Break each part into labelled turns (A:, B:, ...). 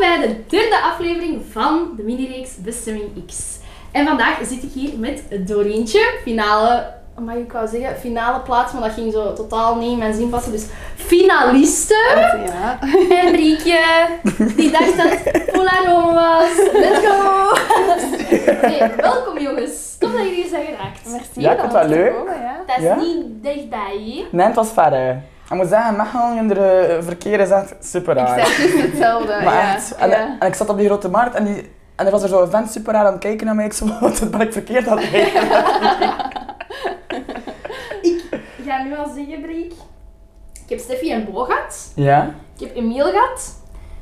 A: bij de derde aflevering van de minireeks Bestemming X. En vandaag zit ik hier met Dorientje, finale, mag ik wou zeggen, finale plaats, maar dat ging zo totaal niet in mijn zin passen. Dus finaliste.
B: Ja.
A: En Riekje, die dacht dat Polaro was. Let's go! Hey, welkom jongens, tof dat jullie hier zijn geraakt.
B: Merci.
C: Ja, ik vond het wel leuk.
A: Dat is
C: Ja?
A: niet dichtbij hier.
C: Nee, het was verre. Ik moet zeggen, Mechelen in de eh, verkeer is echt super
B: Ik
C: raar.
B: zei precies hetzelfde.
C: maar
B: ja.
C: echt, en,
B: ja.
C: en ik zat op die grote markt en, die, en er was er zo'n vent super raar aan het kijken naar mij. Ik zei, wat ben ik verkeerd aan het kijken?"
A: Ik ga nu al zeggen, Briek. Ik heb Steffi en Bo gehad.
C: Ja?
A: Ik heb Emiel gehad.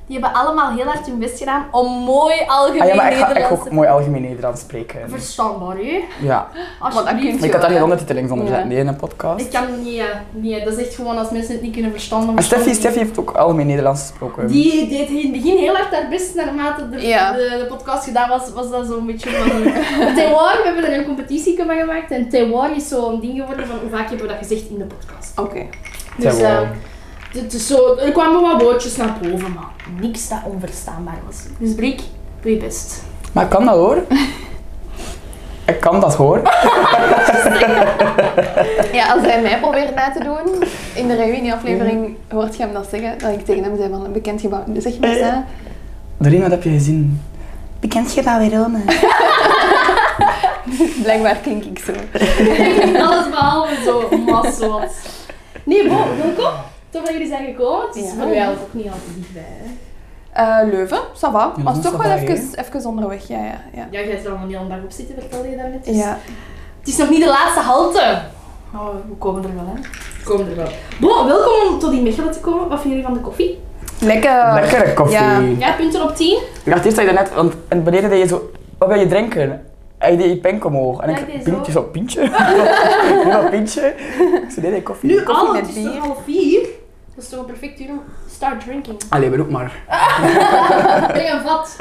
A: Die hebben allemaal heel hard hun best gedaan om mooi algemeen
C: Ah, ja, maar ik ga ik
A: Nederlands
C: ook mooi algemeen Nederlands spreken.
A: Verstaanbaar, hè?
C: Ja.
A: Alsjeblieft.
B: kun
C: Ik had daar geen ondertiteling onder
B: Ja.
C: zetten, die in een podcast.
A: Ik kan niet, ja. nee, dat is echt gewoon als mensen het niet kunnen verstaan. dan
C: En Steffi,
A: verstaan
C: Steffi
A: ze
C: heeft ook algemeen Nederlands gesproken.
A: niet. Die deed in het begin heel hard haar best, naarmate de,
B: Ja.
A: de, de podcast gedaan was, was dat zo'n beetje van... Terroir, we hebben er een competitie van gemaakt en Terroir is zo'n ding geworden van hoe vaak hebben we dat gezegd in de podcast.
B: Oké.
A: Dus
C: Terwijl-
B: ehm,
A: eh, het is zo, er kwamen wat woordjes naar boven, maar niks dat onverstaanbaar was. Dus Brik, doe je best.
C: Maar ik kan dat hoor. ik kan dat hoor.
B: Ja, als hij mij probeert na te doen, in de
C: Mm.
B: reunieaflevering hoort je hem dat zeggen, dat ik tegen hem zei van een bekend gebouw. Dus zeg maar
C: Eh.
B: eens, hè.
C: Doreen, wat heb je gezien? Bekend gebouw Verona.
B: Blijkbaar klink ik zo.
A: Alles behalve zo, massot. Nee, Bo, welkom. Tof dat jullie zijn gekomen. Het is
B: Ja.
A: voor jou ook niet altijd dichtbij. hè.
B: Eh, Leuven, ça va.
C: Ja,
B: was
C: dat
B: toch
C: is
B: wel
C: ça va,
B: even, even onderweg, ja, ja. ja.
A: Ja, jij hebt er allemaal niet al een dag op zitten, vertelde je daarnet. Dus
B: Ja,
A: Het is nog niet de laatste halte. Maar Oh, we- we komen er wel, hè. We komen er wel. Bo, welkom om tot in Mechelen te komen. Wat vinden jullie van de koffie?
B: lekker.
C: Lekkere koffie.
B: Ja.
A: Ja, punten op 10.
C: Ik dacht eerst dat je daarnet, want en beneden deed je zo, wat wil je drinken? En je deed je pink omhoog. En
A: Ja, ik
C: ik
A: deed
C: pintje
A: zo.
C: zo, pintje? Nu dat pintje? Ik zei, nee, nee, koffie.
A: Nu al,
B: met
A: het is toch
B: bier.
A: half vier. Dat is toch een perfect uur om start drinking.
C: Allee, beroep maar.
A: Breng een vat.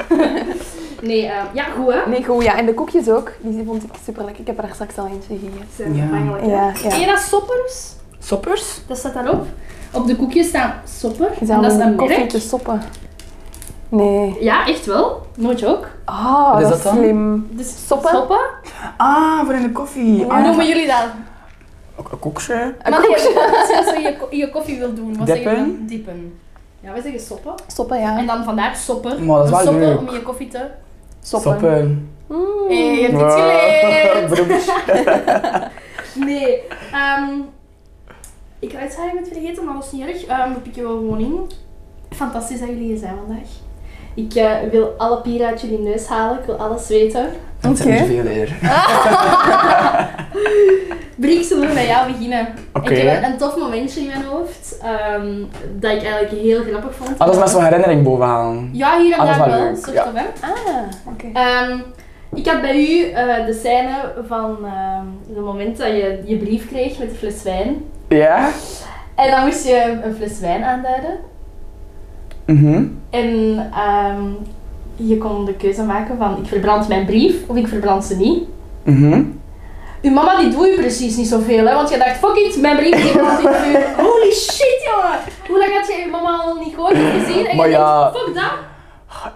A: Nee, eh, ja, goed hè.
B: Nee, goed, ja. En de koekjes ook, die vond ik super lekker. Ik heb er daar straks al eentje gegeten.
A: Ze zijn
C: Ja.
A: vervangelijk. hè.
B: Ja,
A: Ken
B: ja.
A: je dat soppers?
C: Soppers?
A: Dat staat daarop. Op de koekjes staan sopper.
B: Je
A: en
B: zou
A: dat is
B: een
A: een
B: koffie
A: merk.
B: te stoppen. Nee.
A: Ja, echt wel. Nooit ook.
B: Ah,
C: Wat is
B: dat
C: dat
B: is
C: dan?
B: slim.
A: Dus
B: Soppen?
A: soppen.
C: Ah, voor in de koffie.
B: Ja.
A: Hoe
C: Ah,
A: noemen jullie dat?
C: ook een koksje.
B: Een
A: maar nee,
B: koekje.
A: als je, als je je ko- je koffie wil doen, wat zeg je
C: Dippen.
A: dan? Dippen. Ja, wij zeggen soppen.
B: Stoppen,
A: En
B: ja.
A: dan vandaar sopper.
C: Maar dat is
A: Een
C: wel
A: soppen
C: leuk.
A: om je koffie te...
B: Soppen. Mm.
A: Hey, je hebt iets
C: Wow.
A: geleerd!
C: Beroep.
A: Nee. ehm, ik had iets eigenlijk vergeten, maar dat is niet erg. Ehm we pikken wel gewoon in. Fantastisch dat jullie hier zijn vandaag. Ik eh, wil alle pieren uit jullie neus halen. Ik wil alles weten.
C: Dat zijn
B: Oké.
C: niet veel eerder.
A: Brik, zullen we bij jou beginnen?
C: Oké.
A: Ik heb een, een tof momentje in mijn hoofd ehm, dat ik eigenlijk heel grappig vond.
C: Alles met zo'n herinnering bovenaan.
A: Ja, hier en
C: Ah, dat is
A: daar
C: wel
A: wel.
C: leuk,
A: soort
C: ja.
A: of, hè.
B: Ah, oké.
A: Ehm, ik had bij u eh, de scène van ehm, het moment dat je je brief kreeg met de fles wijn.
C: Ja?
A: En dan moest je een fles wijn aanduiden.
C: Mhm.
A: En ehm, je kon de keuze maken van ik verbrand mijn brief of ik verbrand ze niet.
C: Mhm.
A: Uw mama die doe je precies niet zoveel, hè? Want je dacht, fuck it, mijn brief die brandt in het vuur. Holy shit, jongen! Hoe lang had je je mama al niet gehoord of gezien? En
C: Maar
A: je
C: ja.
A: denkt, fuck dat!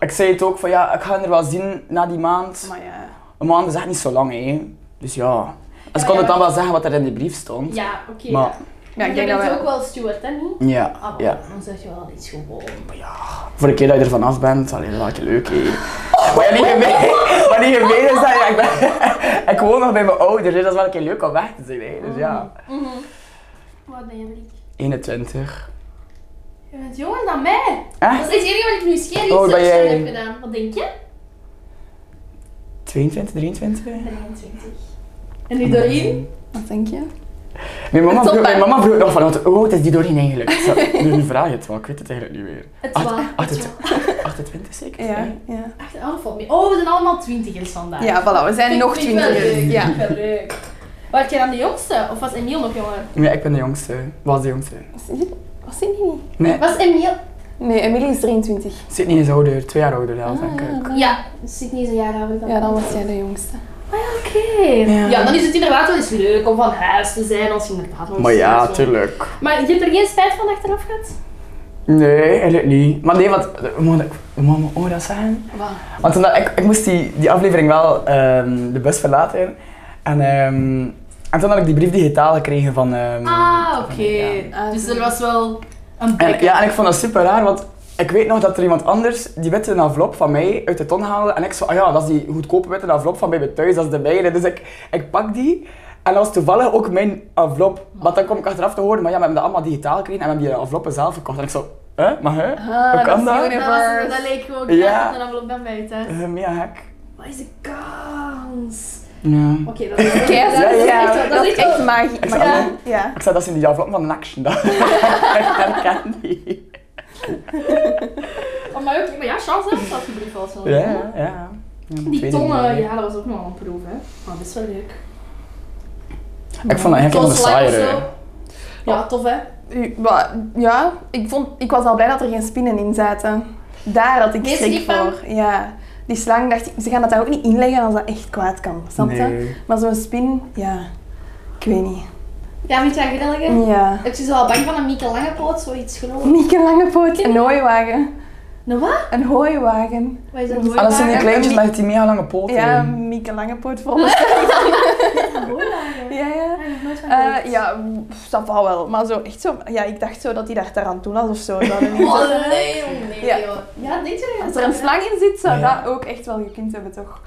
C: Ik zei het ook van ja, ik ga er wel zien na die maand.
B: Maar ja.
C: Een maand is echt niet zo lang, hè. Dus ja.
A: Ja,
C: Dus ik kon
A: ja,
C: het dan wel zeggen wat er in die brief stond.
A: Ja, oké.
C: Maar-
B: Ja,
A: ik
B: ik
A: jij
B: denk dat
A: bent
B: wij...
A: ook wel steward, hè, niet?
C: Ja,
A: Ah,
C: ja.
A: Dan zeg je wel al iets gewoon.
C: Voor een keer dat je er vanaf bent, alleen dat je leuk hé. Maar ja, niet gemeen, maar niet gemeen is dat, ja, ik, ben, ik woon nog bij mijn ouders, hè. dat is wel een keer leuk om weg te zijn. Hè. Dus ja.
A: Wat ben je, Brik?
C: 21.
A: Je bent jonger dan mij!
C: Echt?
A: Dat is het enige wat ik nu
C: Hoe
A: scherp
C: oud ben jij?
A: heb gedaan. Wat denk je?
C: 22, 23?
A: 23. En nu Doreen?
B: Wat denk je?
C: Mijn mama,
A: Het is
C: vroeg,
A: op, hè.
C: mijn mama vroeg nog van, want hoe oud is die Doreen eigenlijk? Ik zei, Nu vraag je het wel, ik weet het eigenlijk niet meer.
A: Het
C: Acht-
A: was.
C: acht- 28 zeker?
B: Ja, ja.
A: Echt, oh, dat valt mee. Oh, we zijn allemaal twintigers vandaag.
B: Ja, voilà, we zijn
A: Vind-
B: nog
A: vind ik wel
B: twintig.
A: leuk,
B: Ja.
A: vind ik wel leuk. Was jij dan de jongste? Of was Emiel nog jonger?
C: Nee, ik ben de jongste. Was de jongste.
B: Was die niet?
C: Nee,
A: Was Emiel...
B: Nee, Emily is 23.
C: Sydney is ouder, twee jaar ouder zelfs, denk ik.
B: ja.
A: Ja, Dus Sydney is een jaar ouder dan
B: Ja, dan
A: ik.
B: was jij de jongste.
A: Ah ja, oké. Ja.
C: Ja.
A: dan is het inderdaad wel eens leuk om van huis te zijn, als je inderdaad... wel eens
C: Maar ja,
A: thuis woont.
C: tuurlijk.
A: Maar je hebt er geen spijt van achteraf gehad?
C: Nee, eigenlijk niet. Maar nee, want... Mag ik, mag ik ook dat zeggen?
B: Wat?
C: Want toen dat- ik, ik moest die, die aflevering wel ehm, de bus verlaten. En, ehm, en toen had ik die brief digitaal gekregen van... ehm,
A: Ah, oké.
C: van- ja.
B: Ah,
A: Dus
B: zo.
A: er was wel een
C: En,
A: backup.
C: ja, en ik vond dat super raar, want ik weet nog dat er iemand anders die witte envelop van mij uit de ton haalde. En ik zo, ah ja, dat is die goedkope witte envelop van bij me thuis, dat is de mijne. Dus ik, ik pak die. En dat was toevallig ook mijn envelop. Maar dan kom ik achteraf te horen, maar ja, we hebben dat allemaal digitaal gekregen en we hebben die enveloppen zelf gekocht. En ik zo, hè, maar hè?
B: Ah,
C: Hoe kan
B: dat is
C: dat?
A: Dat, was, dat leek gewoon
C: Ja.
A: ja. en dan ben bij thuis.
C: Eh, Mega hek.
A: Wat is de kans?
C: Ja.
A: Oké, dat is
B: Kerst, ja,
C: Ja, ja, ja.
B: Dat is echt magie.
C: Ik zag
B: Ja.
C: allemaal-
B: ja.
C: Ik zei, dat is in die envelop van een action dan. Herken die.
A: Oh, maar, ook, maar ja, Charles heeft dat gebrief al zo.
C: Ja, ja, ja. Ja, ik
A: Die
C: weet het niet
A: tonnen,
C: meer.
A: ja, dat was ook nog wel een proef, hè. Maar dat is wel leuk.
C: Ik vond dat eigenlijk een
A: Zoals Sly of
C: saaiere.
A: zo. Ja, tof, hè.
B: U- wa- Ja, ik, vond, ik was al blij dat er geen spinnen in zaten. Daar had ik
A: Geen
B: schrik
A: slippen?
B: voor. Ja. Die slang dacht ik, ze gaan dat daar ook niet inleggen als dat echt kwaad kan. Snap je?
C: Nee.
B: Maar zo'n spin, ja. Ik weet niet.
A: Ja, vind je dat grillige?
B: Ja.
A: Het is wel bang van een Mieke Langepoot, zoiets geloof.
B: Mieke Langepoot, een hooiwagen.
A: Nou, wat?
B: Een hooiwagen.
A: Wat is dat?
C: Ah, dat zijn die
B: Hooiwagen.
C: kleintjes met die mega lange poten.
B: Ja, Mieke Langepoot volgens mij. Ja, ja. Eh, ja, pff, dat wou wel. Maar zo, echt zo, ja, ik dacht zo dat hij daar aan toe was of zo. Dat er niet zo-
A: Oh, nee, oh, nee,
B: Ja.
A: joh. Ja, dit is
B: Als er een slang in zit, zou
C: Ja.
B: dat ook echt wel gekund hebben, toch?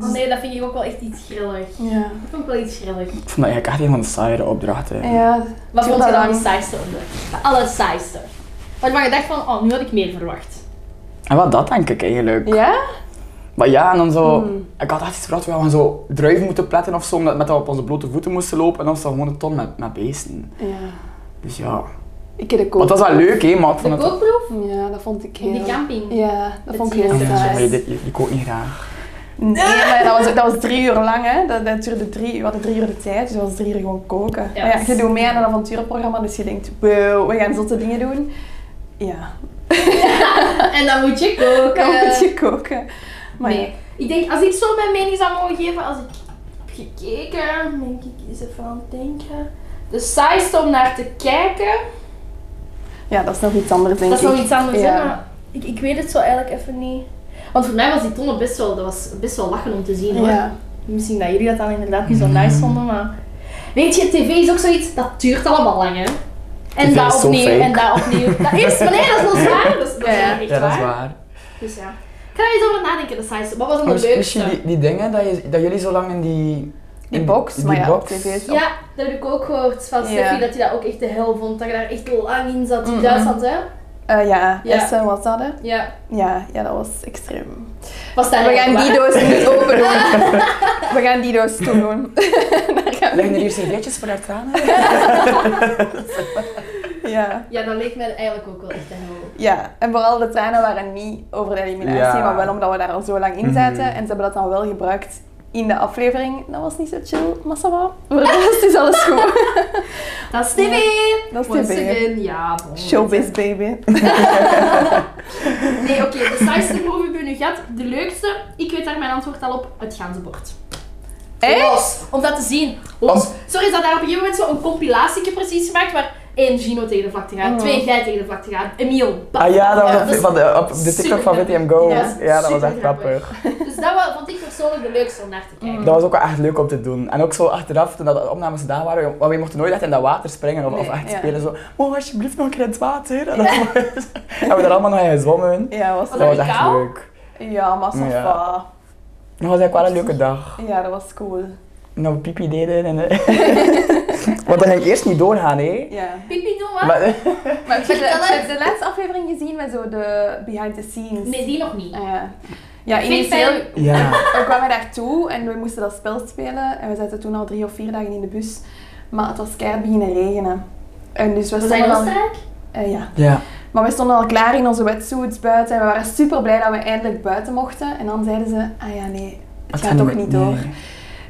A: Oh nee, dat vind ik ook wel echt iets grillig.
B: Ja.
A: Dat vond ik wel iets grillig.
C: Ik vond dat eigenlijk echt een van de saaiere opdrachten.
B: Ja.
A: Wat
B: Doe
A: vond je
B: dat
A: dan
B: dan.
A: de saaiste opdracht? De allersaaiste. Waarvan je dacht van, oh, nu had ik meer verwacht.
C: En wat dat denk ik eigenlijk.
B: Ja?
C: Maar ja, en dan zo...
B: Hmm.
C: Ik had echt iets verwacht, we gaan zo druiven moeten pletten of zo, omdat met dat we op onze blote voeten moesten lopen. En dan was dat gewoon een ton met, met beesten.
B: Ja.
C: Dus ja.
B: Ik heb de koop.
C: Want dat was wel leuk, hè, maar ik
A: De
C: vond het...
A: kookproef?
B: Ja, dat vond ik heel...
A: In die camping.
B: Ja, dat
A: Met
B: vond ik
A: die
B: heel
C: Ja,
A: mensen.
B: saai.
C: maar je, dit- je, je kookt niet graag.
B: Nee, maar dat was, dat was drie uur lang, hè. Dat, dat duurde drie, we hadden drie uur de tijd, dus dat was drie uur gewoon koken.
A: Ja.
B: Maar ja, je doet mee aan een avonturenprogramma, dus je denkt, wow, we gaan zotte dingen doen. Ja,
A: En dan moet je koken.
B: dan moet je koken. Maar
A: Eh, nee. Ik denk, als ik zo mijn mening zou mogen geven, als ik heb gekeken, denk ik eens even aan het denken. De saaiste om naar te kijken,
B: ja, dat is nog iets anders, denk
A: dat is
B: ik.
A: nog iets anders,
B: Ja.
A: hè, maar ik, ik weet het zo eigenlijk even niet. Want voor mij was die tonnen best wel, dat was best wel lachen om te zien hoor.
B: Ja.
A: Misschien dat jullie dat dan inderdaad niet zo
B: Mhm.
A: nice vonden, maar... Weet je, tv is ook zoiets, dat duurt allemaal lang, hè. En
C: TV
A: daar
C: is zo
A: opnieuw,
C: fake.
A: en daar opnieuw. Dat is, maar nee, dat is wel zwaar. Dat is, dat is
B: Ja.
A: echt
C: Ja, dat is
A: waar.
C: waar.
A: Dus ja. Ik ga er eens over nadenken, de saaiste. Wat was dan de
C: Misschien-
A: leukste?
C: Misschien die, die dingen dat, je, dat jullie zo lang in die...
B: Die
C: in
B: box,
C: die
B: maar ja,
C: box-
B: tv is
A: Ja, dat heb ik ook gehoord van
B: Ja.
A: Steffi, dat hij dat ook echt de hel vond. Dat je daar echt lang in zat in
B: Mm-mm.
A: Duitsland, hè?
B: Eh, ja,
A: Ja.
B: Essen was dat, hè.
A: Ja.
B: Ja, ja, dat was extreem.
A: Was dat
B: We gaan
A: helemaal
B: die
A: waar?
B: doos niet open doen. We gaan die doos toedoen. Daar gaan we
C: Liggen er hier servetjes voor haar tranen?
B: niet- Ja.
A: Ja, dat leek mij eigenlijk ook wel echt de hel.
B: Ja, en vooral de trainen waren niet over de eliminatie,
C: Ja.
B: maar wel omdat we daar al zo lang in zaten.
C: Mhm.
B: En ze hebben dat dan wel gebruikt in de aflevering. Dat was niet zo chill, maar ça va. Voor de rest is dus alles goed.
A: Dat is TV!
B: Dat is
A: Once
B: TV.
A: again, ja. bon.
B: Showbiz baby.
A: Nee, oké, de saaiste proef hebben we nu gehad. De leukste, ik weet daar mijn antwoord al op, het ganzenbord.
B: Echt?
A: Los, om dat te zien. Los.
C: Om-
A: Sorry dat daar op een gegeven moment zo'n compilatie precies gemaakt waar één Gino tegen de vlakte gaat,
B: Oh.
A: twee jij tegen de vlakte gaat, Emiel. bam.
C: Ah ja, dat was
A: Ja, dus-
C: op,
A: dat is
C: van de, op de TikTok van
A: super
C: VTM Go.
B: Ja,
C: Ja, dat was echt
A: super grappig. Mm.
C: grappig.
A: Dus dat wa- vond ik persoonlijk de leukste om naar te kijken.
C: Dat was ook wel echt leuk om te doen. En ook zo achteraf, toen dat de opnames gedaan waren, want we mochten nooit echt in dat water springen of, of
B: Nee,
C: echt
B: ja.
C: spelen. Zo, mogen we alsjeblieft nog een keer in het water? En dan hebben we daar allemaal nog in gezwommen.
B: Ja, was
A: Was
C: Dat
B: dat.
C: was
A: het
C: echt
A: koud?
C: leuk.
B: Ja, maar ça
C: Ja.
B: va.
C: Dat was eigenlijk wel een leuke dag.
B: Ja, dat was cool.
C: En dat we pipi deden. En, eh, Want dat ging eerst niet doorgaan, hè?
B: Ja.
A: Pipi doen wat?
C: Maar,
B: Maar heb je de,
A: Ik kan
B: heb je de laatste aflevering gezien met zo de behind the scenes?
A: Nee, die nog niet.
B: Ah, ja. ja,
A: Ik vind
B: initieel
A: bij-
C: ja.
B: we kwamen daartoe en we moesten dat spel spelen. En we zaten toen al drie of vier dagen in de bus. Maar het was keihard beginnen regenen. En dus we
A: We zijn in
B: stonden al,
A: Oostenrijk.
B: eh, ja.
C: ja.
B: Maar we stonden al klaar in onze wetsuits buiten. En we waren super blij dat we eindelijk buiten mochten. En dan zeiden ze, ah ja nee, het gaat toch niet door.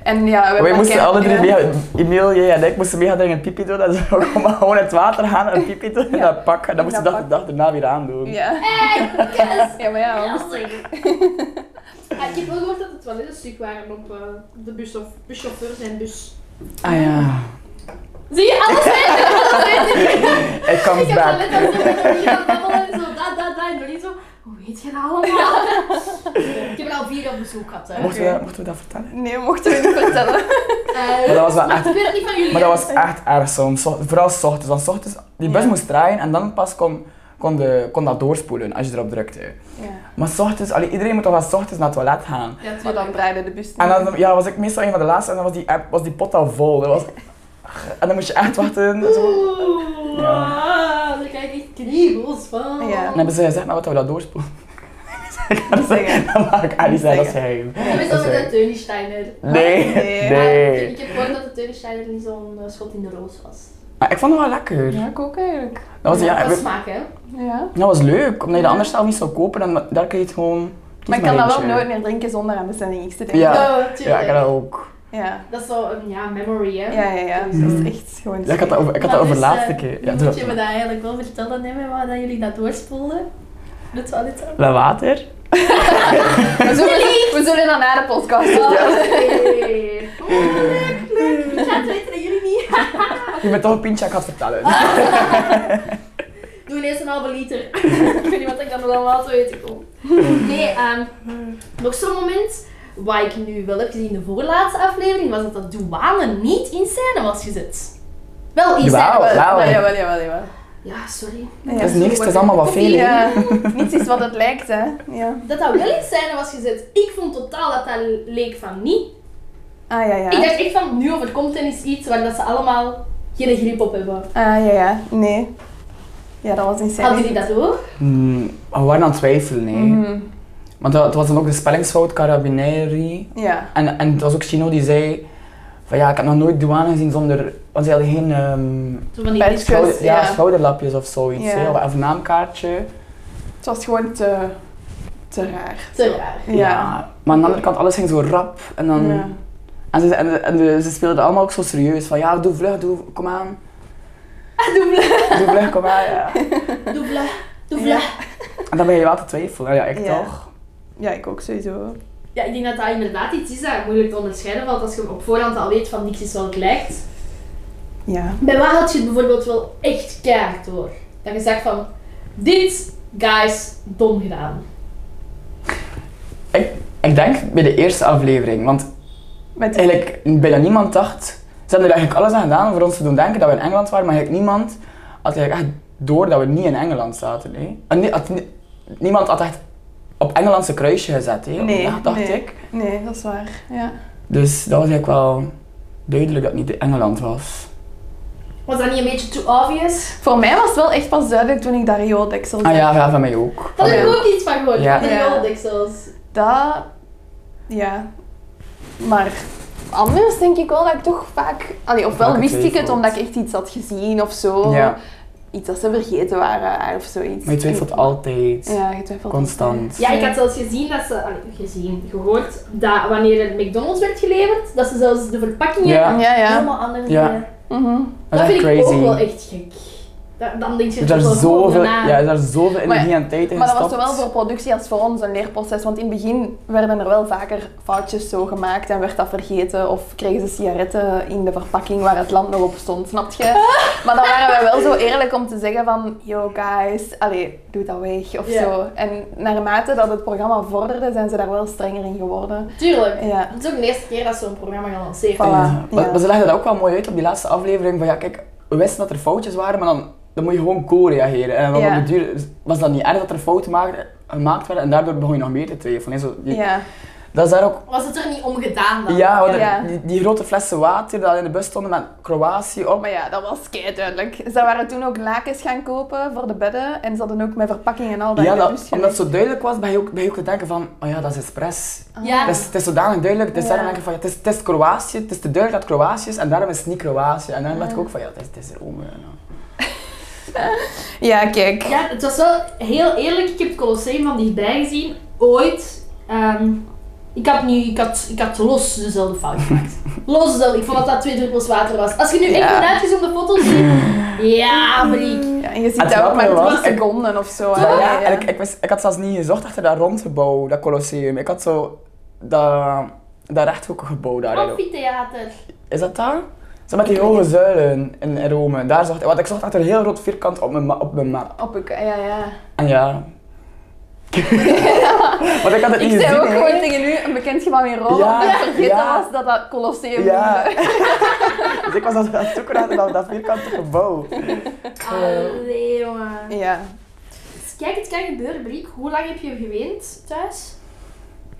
B: En ja, we
C: Wij
B: hebben
C: moesten
B: keihard
C: alle drie,
B: beginnen-
C: mega- Emiel, jij en ik, moesten mega dringend pipi doen. En ze konden gewoon in het water gaan en pipi doen en
B: Ja.
C: dat pakken.
B: In
C: Dat moesten we
B: dat
C: dat de dag daarna weer aandoen.
B: Ja.
A: Eh,
B: ja, maar ja, anders-
A: Ja, ik heb wel gehoord dat het wel eens een stuk waren op eh, de bus of buschauffeurs en bus.
C: Ah ja.
A: Zie je alles? hè?
C: It comes
A: Ik heb dat
C: back.
A: net als ik hier aan babbelen en zo, dat, dat, dat. En Doreen zo, hoe weet je dat allemaal? ik heb er al vier op bezoek gehad. Hè.
C: Mochten we, dat- mochten we dat vertellen?
B: Nee, mochten we niet vertellen.
A: Eh,
C: Maar dat was wel
A: maar
C: echt-
A: het gebeurt niet van jullie.
C: Maar dat
A: hè.
C: was echt erg soms. Zo- Vooral s ochtends. Want s ochtends, die bus
B: Ja.
C: moest draaien en dan pas kon, kon, de, kon dat doorspoelen als je erop drukte.
B: Ja.
C: Maar s ochtends, allee, iedereen moet toch wel s ochtends naar het toilet gaan.
A: Ja,
B: Maar dan
A: tuurlijk.
B: draaide de bus niet.
C: En dan ja, was ik meestal een van de laatste en dan was die, app, was die pot al vol. Dat was, en dan moest je echt wachten. en Zo.
A: Oeh,
C: Ja.
A: ah, daar krijg ik kriebels van.
B: Ja.
C: En hebben ze gezegd, maar wat we dat doorspoelen?
B: Niet zeggen.
C: Dat mag ik niet zeggen, dat is geheim.
A: Dat is dan
C: Dat is
A: met de
C: geheim.
A: Teunensteiner.
C: Nee,
B: Nee.
A: Maar
C: nee.
A: Ik heb gehoord dat de Teunensteiner niet zo'n eh, schot in de roos was.
C: Maar ik vond het wel lekker.
B: Ja, ik ook eigenlijk.
C: Dat was, ja,
A: dat
C: we-
A: smaak, hè?
B: Ja.
C: dat was leuk, omdat je
B: Ja.
C: dat anders zelf niet zou kopen en daar kun je het gewoon... kies
B: Maar ik kan dat wel
C: eentje.
B: nooit meer drinken zonder aan bestemming X te denken.
C: Ja.
A: Oh,
C: Ja,
A: tuurlijk.
C: ik had dat ook.
B: Ja.
A: Dat is zo een ja, memory, hè?
B: Ja, ja, ja. Dat is echt gewoon...
C: Mm. Ja, ik had dat over, ik had dat over de laatste keer. Ja,
A: Ja, moet
C: doe dat
A: je me
C: maar.
A: dat eigenlijk wel vertellen, hè, met wat dat jullie dat doorspoelden? Dat wel dit
C: Met water.
B: We zullen, we zullen dat na de podcast doen.
A: Oh, nee. Oeh, Leuk, leuk. Ik ga het weten dat jullie niet.
C: Je bent toch een pintje, ik had vertellen.
A: Doe ineens een halve liter. ik weet niet wat ik dan wel later weten kom. Nee, ehm, nog zo'n moment. Wat ik nu wel heb gezien in de voorlaatste aflevering, was dat de douane niet in scène was gezet. Wel in scène.
C: Wauw,
A: wel.
C: wauw.
B: Maar jawel, jawel, jawel.
A: Ja, sorry.
B: Ja.
C: Dat is niks, dat is allemaal wat veel. hè.
B: Ja, niets is wat het lijkt, hè. Ja.
A: Dat dat wel in scène was gezet. Ik vond totaal dat dat leek van niet.
B: Ah, ja, ja.
A: Ik dacht echt van, nu overkomt hen is iets waar dat ze allemaal geen grip op hebben.
B: Ah, ja, ja. Nee. Ja, dat was insane.
A: Hadden jullie dat ook?
C: Hmm, we waren aan het twijfelen, hè.
B: Mhm.
C: Want dat, het was dan ook de spellingsfout, carabinieri.
B: Ja.
C: En, en het was ook Chino die zei van ja, ik heb nog nooit douane gezien zonder... Want ze hadden geen ehm,
A: Zo van die
B: Bij het
A: grip.
C: schouder- ja,
B: ja.
C: schouderlapjes of zoiets,
B: Ja.
C: hè, of, of naamkaartje.
B: Het was gewoon te... te raar.
A: Te raar.
B: Ja.
C: Maar aan de andere kant, alles ging zo rap. En, dan,
B: Ja.
C: en, ze, en, de- en de- ze speelden allemaal ook zo serieus. Van ja, doe vlug, doe, kom aan.
A: Doe
C: Doe vlug, kom aan, ja.
A: Doebla. Doebla.
B: Ja.
C: En dan ben je wel te twijfelen. Ja, ik
B: Ja.
C: toch.
B: Ja, ik ook sowieso.
A: Ja, ik denk dat dat inderdaad iets is dat moeilijk te onderscheiden valt als je op voorhand al weet van niks is wat het lijkt.
B: Ja.
A: Bij wat had je het bijvoorbeeld wel echt keihard door? Dat je zegt van, dit, guys, dom gedaan.
C: Ik, ik denk bij de eerste aflevering. Want
B: Met
C: eigenlijk bijna niemand dacht. Ze hebben er eigenlijk alles aan gedaan om voor ons te doen denken dat we in Engeland waren, maar eigenlijk niemand had eigenlijk echt door dat we niet in Engeland zaten. Hè. En nie- had nie- niemand had echt op Engelandse kruisje gezet, hè, op die
B: Nee,
C: dag, dacht
B: nee.
C: ik.
B: Nee, dat is waar. Ja.
C: Dus dat was eigenlijk wel duidelijk dat het niet Engeland was.
A: Was dat niet een beetje too obvious?
B: Voor mij was het wel echt pas duidelijk toen ik dat riooldeksel zag.
C: Ah ja, ja van mij ook.
A: Daar
C: Van
A: heb
C: mij
A: ik
C: ook.
A: ook iets van gehoord,
C: Ja.
A: van die
B: Ja.
A: roldeksels.
B: Dat... Ja. Maar anders denk ik wel dat ik toch vaak... Allee, ofwel
C: Vaak
B: wist ik het
C: twijfelt.
B: omdat ik echt iets had gezien of zo.
C: Ja,
B: Iets dat ze vergeten waren of zoiets.
C: maar je twijfelt altijd.
B: Ja, je twijfelt
C: Constant.
A: Ja, ik had zelfs gezien dat ze, allee, gezien, gehoord, dat wanneer er McDonald's werd geleverd, dat ze zelfs de verpakkingen
C: Ja.
B: Ja, ja.
A: helemaal anders
C: Ja.
A: deden.
B: Mhm.
A: Dat vind ik
C: crazy.
A: ook wel echt gek. Da- dan denk je
C: Er is
A: toch
C: daar
A: wel
C: zoveel,
A: gewoon na.
C: ja, er is daar zoveel
B: Maar-
C: energie en tijd in
B: Maar dat was
C: gestopt.
B: zowel voor productie als voor ons een leerproces. Want in het begin werden er wel vaker foutjes zo gemaakt en werd dat vergeten. Of kregen ze sigaretten in de verpakking waar het land nog op stond, snap je? Maar dan waren wij wel zo eerlijk om te zeggen van... Yo guys, allee, doe dat weg of
A: Ja.
B: zo. En naarmate dat het programma vorderde, zijn ze daar wel strenger in geworden.
A: Tuurlijk.
B: Ja.
A: Het is ook de eerste keer dat zo'n programma gelanceerd wordt.
B: Voilà,
C: Maar,
B: ja.
C: maar ze legden dat ook wel mooi uit op die laatste aflevering. Van ja, kijk, we wisten dat er foutjes waren, maar dan, dan moet je gewoon cool reageren. En dan
B: Ja.
C: op de duur was dat niet erg dat er fouten maakten- gemaakt werden en daardoor begon je nog meer te twijfelen. hè. Zo, je-
B: Ja,
C: Dat is daar ook.
A: Was het er niet om gedaan dan?
C: Ja, want er-
B: Ja.
C: Die, die grote flessen water die in de bus stonden met Kroatië oh op.
B: maar ja, dat was kei duidelijk. Ze waren toen ook lakens gaan kopen voor de bedden. En ze hadden ook met verpakking en al dat
C: Ja,
B: in de
C: dat-
B: bus
C: omdat
B: gelegd.
C: het zo duidelijk was, ben je ook, ben je ook te denken van, oh ja, dat is expres.
A: Ja.
C: Het is, het is zodanig duidelijk, het is
B: Ah. Ja.
C: daarom denk ik van, ja, het is, het is Kroatië, het is te duidelijk dat het Kroatië is en daarom is het niet Kroatië. En daarom dacht ik ook van, ja, het is, het is Rome. ja.
B: Ja, kijk.
A: Ja, het was wel heel eerlijk. Ik heb het Colosseum van dichtbij gezien. Ooit. Ehm, ik, had nu, ik, had, ik had los dezelfde fout gemaakt. Los dezelfde. Ik vond dat dat twee druppels water was. Als je nu echt
B: Ja.
A: een uitgezoomde foto ziet. Ja,
C: Mm.
A: Mariek.
B: Ja, en je ziet
C: Het
B: dat ook maar
C: grappige was,
B: 10 seconden of zo. hè.
C: Ja,
B: Ja,
C: En ik, ik, wist, ik had zelfs niet gezocht achter dat rondgebouw, dat Colosseum. Ik had zo dat, dat rechthoekige gebouw daar.
B: Oh,
A: Amphitheater.
C: Is dat daar? Zo met die hoge zuilen in in Rome. Daar zocht, want ik zocht echt een heel rood vierkant op mijn, ma- op mijn map.
B: Op ik, ja, ja.
C: En ja. want ik had het
B: Ik
C: niet
B: zei
C: gezien.
B: ook
C: hè.
B: gewoon tegen u, een bekend gebouw in Rome,
C: Ja,
B: omdat ik vergeten
C: ja.
B: was dat dat Colosseum
C: Ja.
B: noemde.
C: dus ik was aan het zoeken naar dat, dat vierkante gebouw. eh,
A: Allee, jongen.
B: Ja.
A: Kijk, het kan gebeuren, Briek. Hoe lang heb je geweend thuis?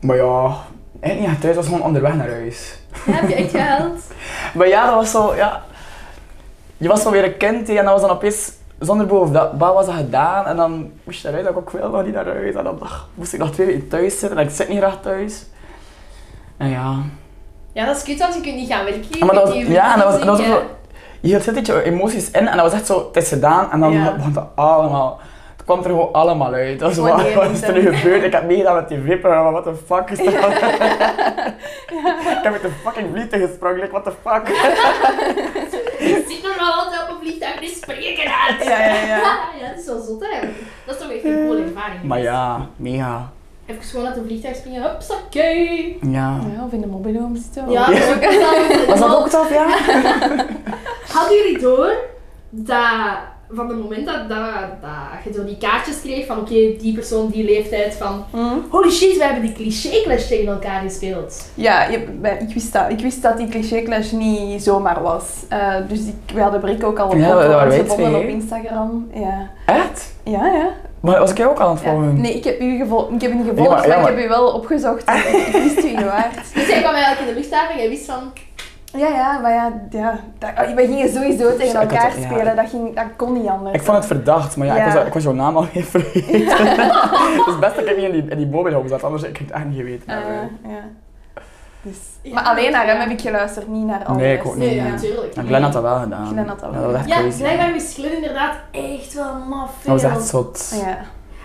C: Maar ja, eigenlijk niet echt thuis, was gewoon onderweg naar huis.
A: Heb je echt gehuild?
C: Maar ja, dat was zo, ja... Je was zo weer een kind hè, en dat was dan opeens zonder boven dat baan was dat gedaan. En dan moest je eruit, dat ik ook wel nog niet naar huis. En dan ach, moest ik nog twee weken thuis zitten en ik zit niet graag thuis. En ja...
A: Ja, dat is kut, want je kunt niet gaan werken. je
C: Ja, maar
A: kunt
C: dat was,
A: niet
C: ja, en dat was,
A: zien,
C: dat was ook
A: hè.
C: zo- je hield een beetje emoties in en dat was echt zo, het is gedaan en dan
B: Ja.
C: begon dat allemaal, het kwam er gewoon allemaal uit. Dat was
B: Gewoon
C: wat,
B: niet
C: wat is er nu
B: inzien.
C: gebeurd? Ik heb meegedaan met die vipper, wat de fuck is dat? Ik heb met de fucking vliegtuig gesprongen, like, what the fuck?
A: Je ziet normaal altijd op een vliegtuig, dus spreken uit.
B: Ja, ja, ja.
A: Ja, dat is wel zot, hè. Dat is toch echt een coole ervaring.
C: Maar ja, mega.
A: Even gewoon uit een vliegtuig springen, hupsakee.
C: Ja.
B: Ja, of in de mobielhome zitten.
A: Ja, dat is ook wel-
C: Was dat ook tof, ja?
A: Hadden jullie door dat van het moment dat, dat, dat je zo die kaartjes kreeg van oké, die persoor, die leeftijd, van
C: Mm.
B: Hm?
A: holy shit, we hebben die cliché-clash tegen elkaar gespeeld.
B: Ja, je- ben- ik wist dat. Ik wist dat die cliché-clash niet zomaar was. Eh, dus ik, we hadden Brik ook al op
C: Ja, dat waren
B: ons
C: wij
B: gevonden
C: twee,
B: op
C: hè?
B: Instagram. Ja,
C: Echt?
B: ja. ja.
C: Maar was ik jou ook aan het
B: Ja.
C: volgen?
B: Nee, ik heb u gevolgd. Ik heb u niet
C: maar-
B: gevolgd, maar,
C: ja,
B: ik
C: maar-
B: heb u wel opgezocht. want ik, ik wist u niet waard.
A: Dus jij kwam eigenlijk in de luchthaven en jij wist van
B: Ja, ja, maar ja, ja dat, we gingen sowieso
C: Dus Ik
B: tegen
C: had-
B: elkaar
C: ja.
B: spelen. Dat, ging, dat kon niet anders.
C: Ik vond het verdacht, maar ja,
B: Ja.
C: Ik, was, ik was jouw naam al even vergeten. Het is best dat ik niet in die, in die mobielhome zat, anders had ik het echt niet geweten.
B: Eh,
C: hebben.
B: ja. Dus,
A: Ja,
B: maar alleen naar
A: ja.
B: hem heb ik geluisterd, niet naar alles.
C: Nee, ik ook niet.
A: nee,
C: Mm. ja.
A: natuurlijk.
C: En Glenn had dat wel gedaan.
B: Glenn had dat wel
C: Ja, was echt
A: Ja,
C: crazy.
A: blijkbaar is Glenn inderdaad echt wel maf.
C: Dat was
A: veel.
C: echt zot.
B: Ja.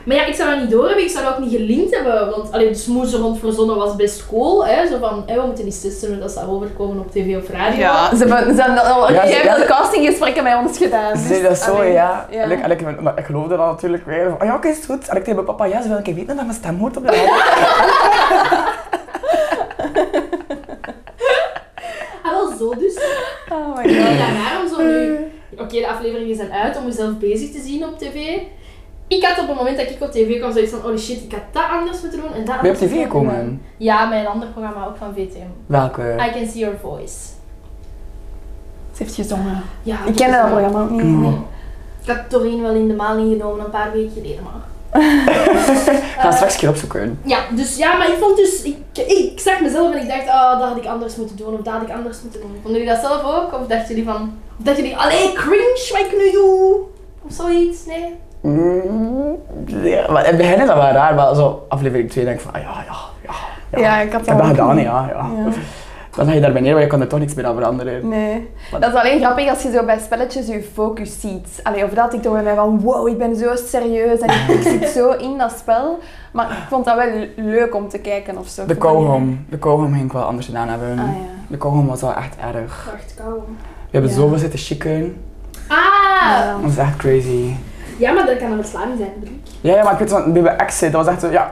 A: Maar ja, ik zou dat niet door hebben, ik zou dat ook niet gelinkt hebben. Want alleen de smoes rond verzonnen was best cool. Hè? Zo van, hé, we moeten niet systemen dat ze overkomen op tv of radio.
B: Ja, ze hebben, ze hebben al
C: Ja, ze-
B: jij hebt
C: ja.
B: al castinggesprekken met ons gedaan. dus-
C: Ze zei dat zo,
B: Allee,
C: ja.
B: ja.
C: En ik, en ik, maar ik geloofde dat natuurlijk weer. Van, Oh ja, oké, is het goed. En ik tegen mijn papa, ja, ze wil een keer weten dat mijn stem hoort op de radio.
A: Ah, wel zo dus.
B: Oh my
A: Ja,
B: god.
A: raar om zo nu... Oké, de afleveringen zijn uit om mezelf bezig te zien op tv. Ik had op het moment dat ik op tv kwam zoiets van, oh shit, ik had dat anders moeten doen en dat
C: Ben je
A: anders
C: op tv
A: moeten doen.
C: gekomen?
A: Ja, mijn ander programma, ook van VTM.
C: Welke?
B: Ah,
A: I Can See Your Voice.
B: Ze heeft gezongen.
A: Ja,
B: Ik ken dat programma ook niet. nee.
A: Ik had Doreen wel in de maal ingenomen een paar weken geleden, maar...
C: Ik ga straks een keer opzoeken.
A: Ja, dus ja, maar ik vond dus... Ik, ik zag mezelf en ik dacht, oh, dat had ik anders moeten doen of dat had ik anders moeten doen. Vonden jullie dat zelf ook? Of dachten jullie van... Of dachten jullie, allee, cringe, wat ik nu doe? Of zoiets, nee?
C: Mm, Ja, maar in het begin is dat wel raar, maar zo aflevering 2 denk ik van, ah ja, ja, ja.
B: Ja, ik had
C: Ik heb dat
B: ook
C: gedaan,
B: niet.
C: ja, ja.
B: Ja.
C: Dan ga je daarbij neer, want je kan er toch niks meer aan veranderen.
B: Nee. Dat is alleen grappig als je zo bij spelletjes je focus ziet. Allee, of dat had ik door mij van wow, ik ben zo serieus en ik, ik zit zo in dat spel. Maar ik vond dat wel leuk om te kijken of zo.
C: De kauwgom. De kauwgom ging ik wel anders gedaan hebben.
B: Ah ja.
C: De kauwgom was wel echt erg.
A: Wacht, kalm.
C: We hebben
B: Ja.
C: zoveel zitten chicken.
A: Ah!
B: Ja.
C: Dat is echt crazy.
A: Ja, maar dat kan een verslaving zijn, denk ik.
C: Ja, ja, maar ik weet van bij mijn exit, dat was echt zo, ja,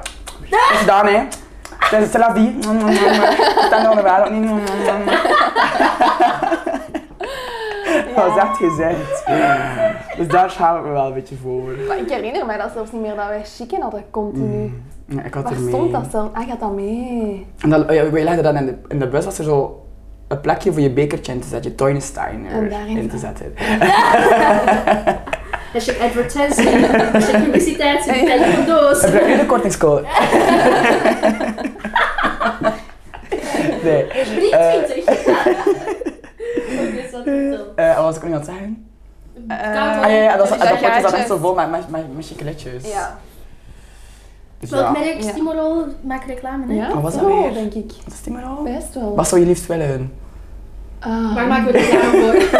C: dat is gedaan hè. Dat is zelf die. Tanden onderwijl ook niet. Dat was echt gezend. Dus daar schaam ik me wel een beetje voor.
B: Maar ik herinner mij dat zelfs niet meer dat wij chicken hadden continu.
C: Mm. Ja, ik had
B: Waar
C: er mee.
B: stond dat dan? Ah, gaat dat mee?
C: En dan, oh ja, wij legden dan in de, in de bus, was er zo een plekje voor je bekertje in te zetten, je
B: En
C: Toynesteiner
B: daarin
C: in
B: van-
C: te zetten.
A: Hashtag advertising, hashtag publiciteit, zet het in de doos.
C: Heb je nu de kortingscode? nee.
A: 23. Oké, zo, zo.
C: Eh, wat was ik nog aan het zeggen?
A: Kalm.
C: Ah ja, ja, dat, is-
B: Dus
C: dat
B: dat
C: potje zat
B: gaatje.
C: echt zo vol met, met, met, met chocolatjes.
B: Ja.
C: Dus
A: Welk
C: ja.
A: merk?
B: Ja.
A: Stimorol maakt reclame, hè?
B: Ja,
C: Wat was dat
B: zo,
C: weer?
B: denk ik. Oh,
C: Wat is die maar al?
B: Best wel.
C: Wat zou je liefst willen?
B: Ah.
A: Waar maken we reclame voor?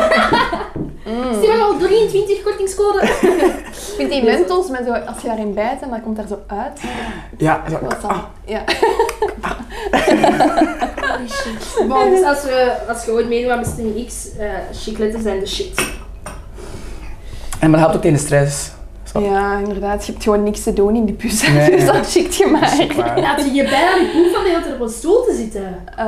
B: Mm.
A: Stimorol 23 kortingscode.
B: Ik vind die mentos, met zo, als je daarin bijt en dat komt daar zo uit.
C: Ja, zo- Ah,
B: Wat is dat? Ja.
A: Bon, dus als, we, als je ooit meedoet aan Bestemming X, eh chicletten zijn de shit.
C: en maar dat helpt ook tegen de stress. Zo.
B: Ja, inderdaad. Je hebt gewoon niks te doen in die bus.
C: Oh. Nee,
B: dus
C: ja.
B: dat schikt je
C: Dat is
B: maar.
C: ook waar.
A: Laat je je bijna niet proef van de hele tijd op een stoel te zitten.
B: Eh,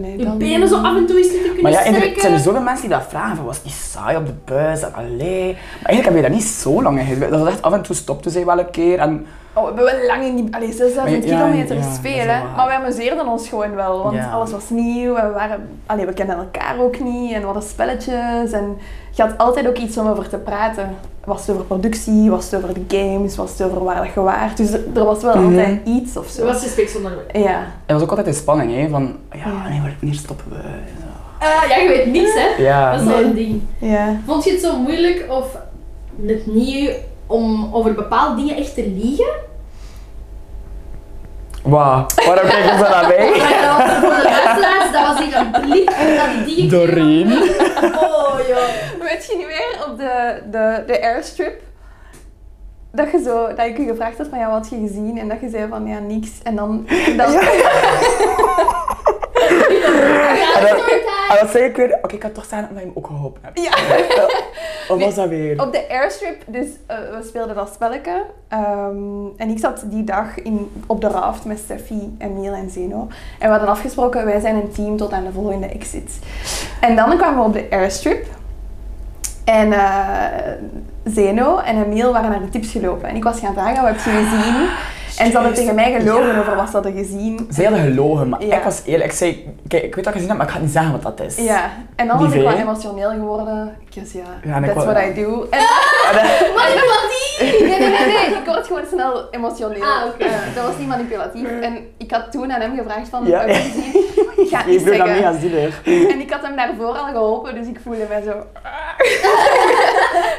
B: nee,
A: Je
B: dan...
A: benen zo af en toe eens niet te kunnen
C: Maar ja, inderdaad,
A: strekken.
C: zijn er zoveel mensen die dat vragen van was het niet saai op de bus en allee. Maar eigenlijk heb je dat niet zo lang in Dat was echt af en toe stopte zij wel een keer en
B: Oh, we hebben wel lang niet... Allee, 6000
C: Maar ja,
B: kilometer
C: ja,
B: is
C: dat is
B: veel,
C: wel
B: hè.
C: waar.
B: Maar we amuseerden ons gewoon wel, want
C: Ja.
B: alles was nieuw en we waren... Allee, we kenden elkaar ook niet en we hadden spelletjes en... Je had altijd ook iets om over te praten. Was het over productie, was het over de games, was het over waar dat je waart. Dus er, er was wel
C: Mhm.
B: altijd iets of
A: Zo
B: zo.
A: was respect zonder
B: Ja.
C: het was ook altijd in spanning, hè, van ja,
B: Ja.
C: nee, maar wanneer stoppen we?
A: Eh Ja, je weet niks, hè.
C: Ja,
A: Dat is al
B: Nee.
A: een ding.
B: Ja.
A: Vond je het zo moeilijk of net niet om over bepaalde dingen echt te liegen?
C: wauw, waarom kijken ze naar mij?
A: Maar dat was voor de luisteraars, dat was hier een blik dat die ik
C: Doreen.
A: Oh joh.
B: Weet je niet meer op de, de, de airstrip? Dat, je zo, dat ik je gevraagd had van ja, wat heb je gezien? En dat je zei van ja, niks. En dan... dan
A: Ja,
C: En dat-
A: storytime.
C: En Ah, dat zei ik weer, oké, ik had toch staan omdat je me ook geholpen hebt.
B: ja. Nee.
C: Of
B: Oh,
C: was dat weer?
B: Op de airstrip, dus eh, we speelden dat spelletje. Ehm, en ik zat die dag in, op de raft met Steffi, Emiel en Zeno. En we hadden afgesproken, wij zijn een team tot aan de volgende exit. En dan kwamen we op de airstrip. En eh, Zeno en Emiel waren naar de tips gelopen. En ik was gaan vragen, wat heb je gezien? en ze hadden tegen
C: juist.
B: mij gelogen
C: Ja.
B: over wat ze hadden gezien.
C: Zij hadden gelogen, maar
B: Ja.
C: ik was eerlijk. Ik zei, kijk, ik weet dat ik gezien heb, maar ik ga niet zeggen wat dat is.
B: Ja, en dan
C: Die
B: was ik wel
C: vee.
B: emotioneel geworden. Kus ja,
C: Ja, en ik
B: that's
C: wou-
B: what I do. En-
A: Maar ik wil die!
B: Ah, Nee, nee, nee, nee. Ik word gewoon snel emotioneel.
A: Ah, oké.
B: Eh, dat was niet manipulatief. En ik had toen aan hem gevraagd van,
C: Ja.
B: ja. ik ga het
C: Ik
B: niet
C: wil
B: zeggen.
C: dat mega zielig.
B: En ik had hem daarvoor al geholpen, dus ik voelde mij zo...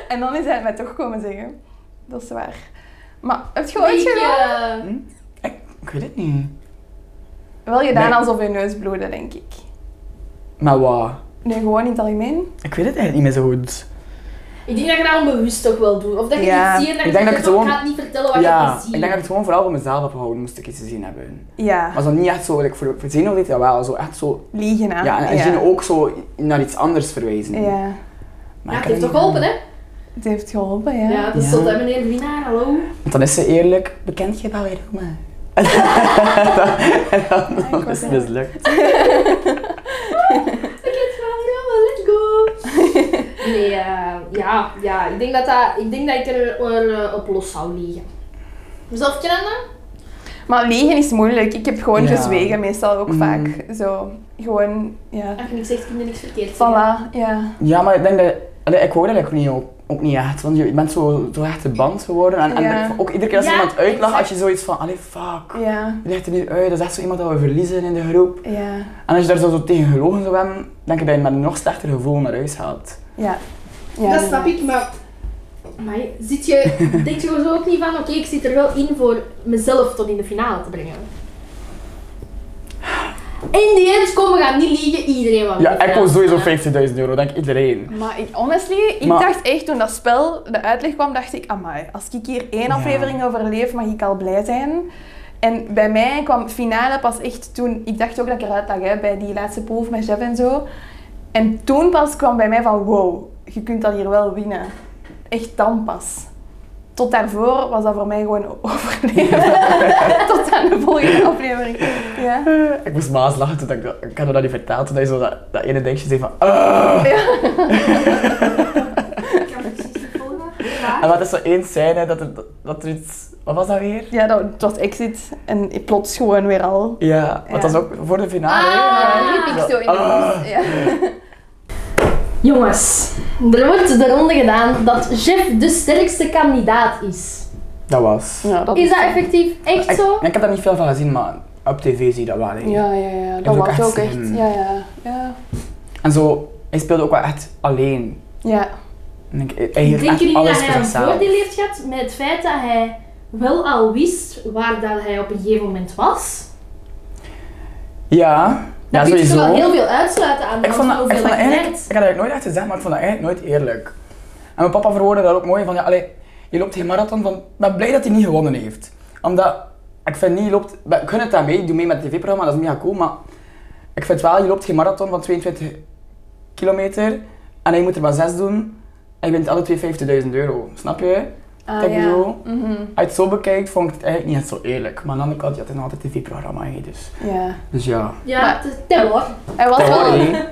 B: en dan is hij het mij toch komen zeggen. Dat is waar. Maar heb je ooit
A: Ik,
B: gedaan?
A: eh,
C: Hm? Ik, ik weet het niet.
B: Wel gedaan
C: Nee.
B: alsof je neus bloedde, denk ik.
C: Maar wat?
B: Nee, gewoon in het algemeen.
C: Ik weet het eigenlijk niet meer zo goed.
A: Ik denk dat je dat onbewust ook wel doet. Of dat je
B: Ja.
A: iets ziet en dat je
C: Ik denk dat ik
A: denkt, ik
C: het gewoon-
A: ga het niet vertellen wat je
C: ja,
A: hebt
C: ik
A: gezien.
C: denk dat ik het gewoon vooral voor mezelf heb gehouden, moest ik iets gezien hebben.
B: Ja.
C: Maar zo niet echt zo, like, voor, voor Zeno deed dat wel, zo echt zo.
B: Liegen
C: Ja,
B: aan.
C: en, en Zeno ook zo naar iets anders verwijzen.
B: Ja.
A: Ja, het
C: Maar ik
A: heeft
C: heb dat
A: toch
C: niet
A: geholpen,
C: gedaan.
A: hè?
B: Het heeft geholpen, ja.
A: Ja, dat is
C: Ja.
A: zot, hè, meneer Wienaar, hallo.
C: Want dan is ze eerlijk, bekend je wel weer Roma?
B: Ja, ik
C: Dat
B: was
C: is
B: er.
C: mislukt.
A: Ik heb het wel, jongen, let's go. Nee, eh, ja, ja, ik denk dat, dat, ik, denk dat ik er er, eh, op los zou liggen. Zelf kennen?
B: Maar liegen is moeilijk. Ik heb gewoon
C: Ja.
B: gezwegen, meestal ook
C: Mm.
B: vaak. Zo, gewoon, ja.
A: Als je niks zegt, kun je niks verkeerd zeggen.
B: Voilà, ja.
C: Ja, maar ik denk dat. allee, ik hoor dat eigenlijk niet ook, ook niet echt, want je je bent zo, zo echt de band geworden. En, en
B: Ja.
C: ook iedere keer als
A: Ja,
C: iemand uitlacht,
A: exact.
C: als je zoiets van, allee, fuck.
B: Ja,
C: Je legt er nu uit, dat is echt zo iemand dat we verliezen in de groep.
B: ja,
C: En als je daar zo, zo tegen gelogen zou hebben, denk ik dat je met een nog slechter gevoel naar huis gaat.
B: ja. ja
A: dat snap ik, maar... Maar zit je, denk je er zo ook niet van, oké, ik zit er wel in voor mezelf tot in de finale te brengen? In de end komen we gaan niet liegen, iedereen wat
C: Ja, ik koos sowieso 50.000 euro, denk ik iedereen.
B: Maar ik, honestly, ik
C: Maar-
B: dacht echt toen dat spel, de uitleg kwam, dacht ik, amai, als ik hier één
C: Ja.
B: aflevering overleef, mag ik al blij zijn. En bij mij kwam finale pas echt toen, ik dacht ook dat ik eruit lag, hè, bij die laatste proef met Jeff en zo. En toen pas kwam bij mij van, wow, je kunt dat hier wel winnen. Echt dan pas. Tot daarvoor was dat voor mij gewoon overleven. Tot aan de volgende aflevering. Ja.
C: Ik moest maas lachen toen ik dat, ik had haar dat niet verteld, toen hij zo dat, dat ene dingetje zei van "Ah."
A: Ik kan precies niet volgen. Ja.
C: En wat is zo één scène dat er, dat, dat er iets, wat was dat weer?
B: Ja, dat, het was exit en plots gewoon weer al.
C: Ja, want dat was ook voor de finale. hè?
A: Ah,
B: Ja, liep ik zo in de
C: Ah.
B: bus. Ja.
A: Jongens, er wordt de ronde gedaan dat Jeff de sterkste kandidaat is.
C: Dat was.
B: Ja, Nou, dat
A: Is dat effectief echt
C: Ik,
A: zo?
C: ik heb daar niet veel van gezien, maar op tv zie je dat wel. hè.
B: Ja, ja, ja.
C: Dat
B: Dat
C: is
B: was
C: ook echt hmm.
B: ook echt.
C: slim.
B: Ja, ja. Ja.
C: En zo, hij speelde ook wel echt alleen.
B: ja.
C: En ik, hij heeft echt
A: Denken jullie
C: alles
A: dat
C: voor
A: hij een
C: zichzelf.
A: voordeel heeft gehad met het feit dat hij wel al wist waar dat hij op een gegeven moment was?
C: Ja, ja
A: Dat kun je
C: sowieso.
A: toch wel heel veel uitsluiten aan
C: Ik vond dat, ik
A: hoeveel
C: vond
A: dat je
C: dat eigenlijk,
A: merkt.
C: ik had dat eigenlijk nooit echt gezegd, maar ik vond dat eigenlijk nooit eerlijk. En mijn papa verwoordde dat ook mooi van, ja, allee, je loopt geen marathon van, ik ben blij dat hij niet gewonnen heeft. Omdat, ik vind niet, je loopt, ik gun het daar mee, ik doe mee met het tv-programma, dat is mega cool, maar ik vind wel, je loopt geen marathon van 22 kilometer en je moet er maar 6 doen en je wint alle twee 50.000 euro, snap je?
B: Ah,
C: Ik bedoel,
B: Mhm.
C: Als je het zo bekijkt, vond ik het eigenlijk niet echt zo eerlijk. Maar aan de andere kant, je had een altijd tv-programma in je dus.
B: ja.
C: Dus ja.
A: Ja,
B: Maar-
A: het is tel hoor.
B: Hij was
C: Dat
B: wel...
C: hoor je niet.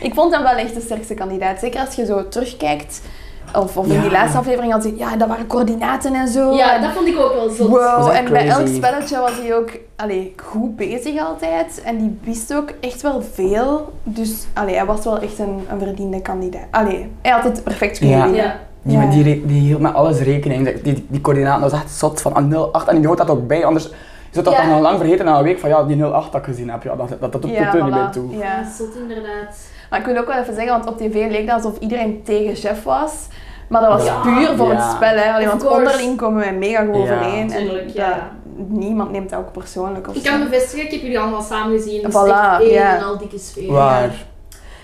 B: Ik vond hem wel echt de sterkste kandidaat. Zeker als je zo terugkijkt. Of, of in
C: Ja.
B: die laatste aflevering had hij... Ja, dat waren coördinaten en
C: Oh.
B: zo.
A: Ja,
B: en-
A: dat vond ik ook wel zot.
C: Dat
B: Wow,
C: was
B: en
C: echt
B: bij elk
C: crazy.
B: spelletje was hij ook allee, goed bezig altijd. En die wist ook echt wel veel. Dus allee, hij was wel echt een, een verdiende kandidaat. Allee, hij had het perfect kunnen
C: Ja.
B: winnen.
A: Ja.
C: Die,
B: Ja.
C: maar die, re- die hield met alles rekening. Die, die, die coördinaten was echt zot van 08. En die houdt dat ook bij, anders zou dat
A: Ja.
C: dan al lang vergeten na een week van ja, die 08 dat ik gezien heb. Ja, dat, dat, dat doet
B: Ja,
C: er niet
B: voilà.
C: bij toe.
A: Ja,
B: Ja.
A: zot inderdaad.
B: Maar ik wil ook wel even zeggen, want op tv leek dat alsof iedereen tegen Chef was. Maar dat was
C: Ja.
B: puur voor het
C: Ja.
B: spel. Hè. Allee,
A: Of
B: want
A: course.
B: onderling komen wij mega goed
C: Ja.
B: overeen. en
A: Tuurlijk, ja.
B: dat- niemand neemt dat ook persoonlijk of
A: Ik
B: zo.
A: kan bevestigen, ik heb jullie allemaal samen gezien. Het is
B: Voilà,
A: echt één
B: ja.
A: en al dikke sfeer.
C: Waar?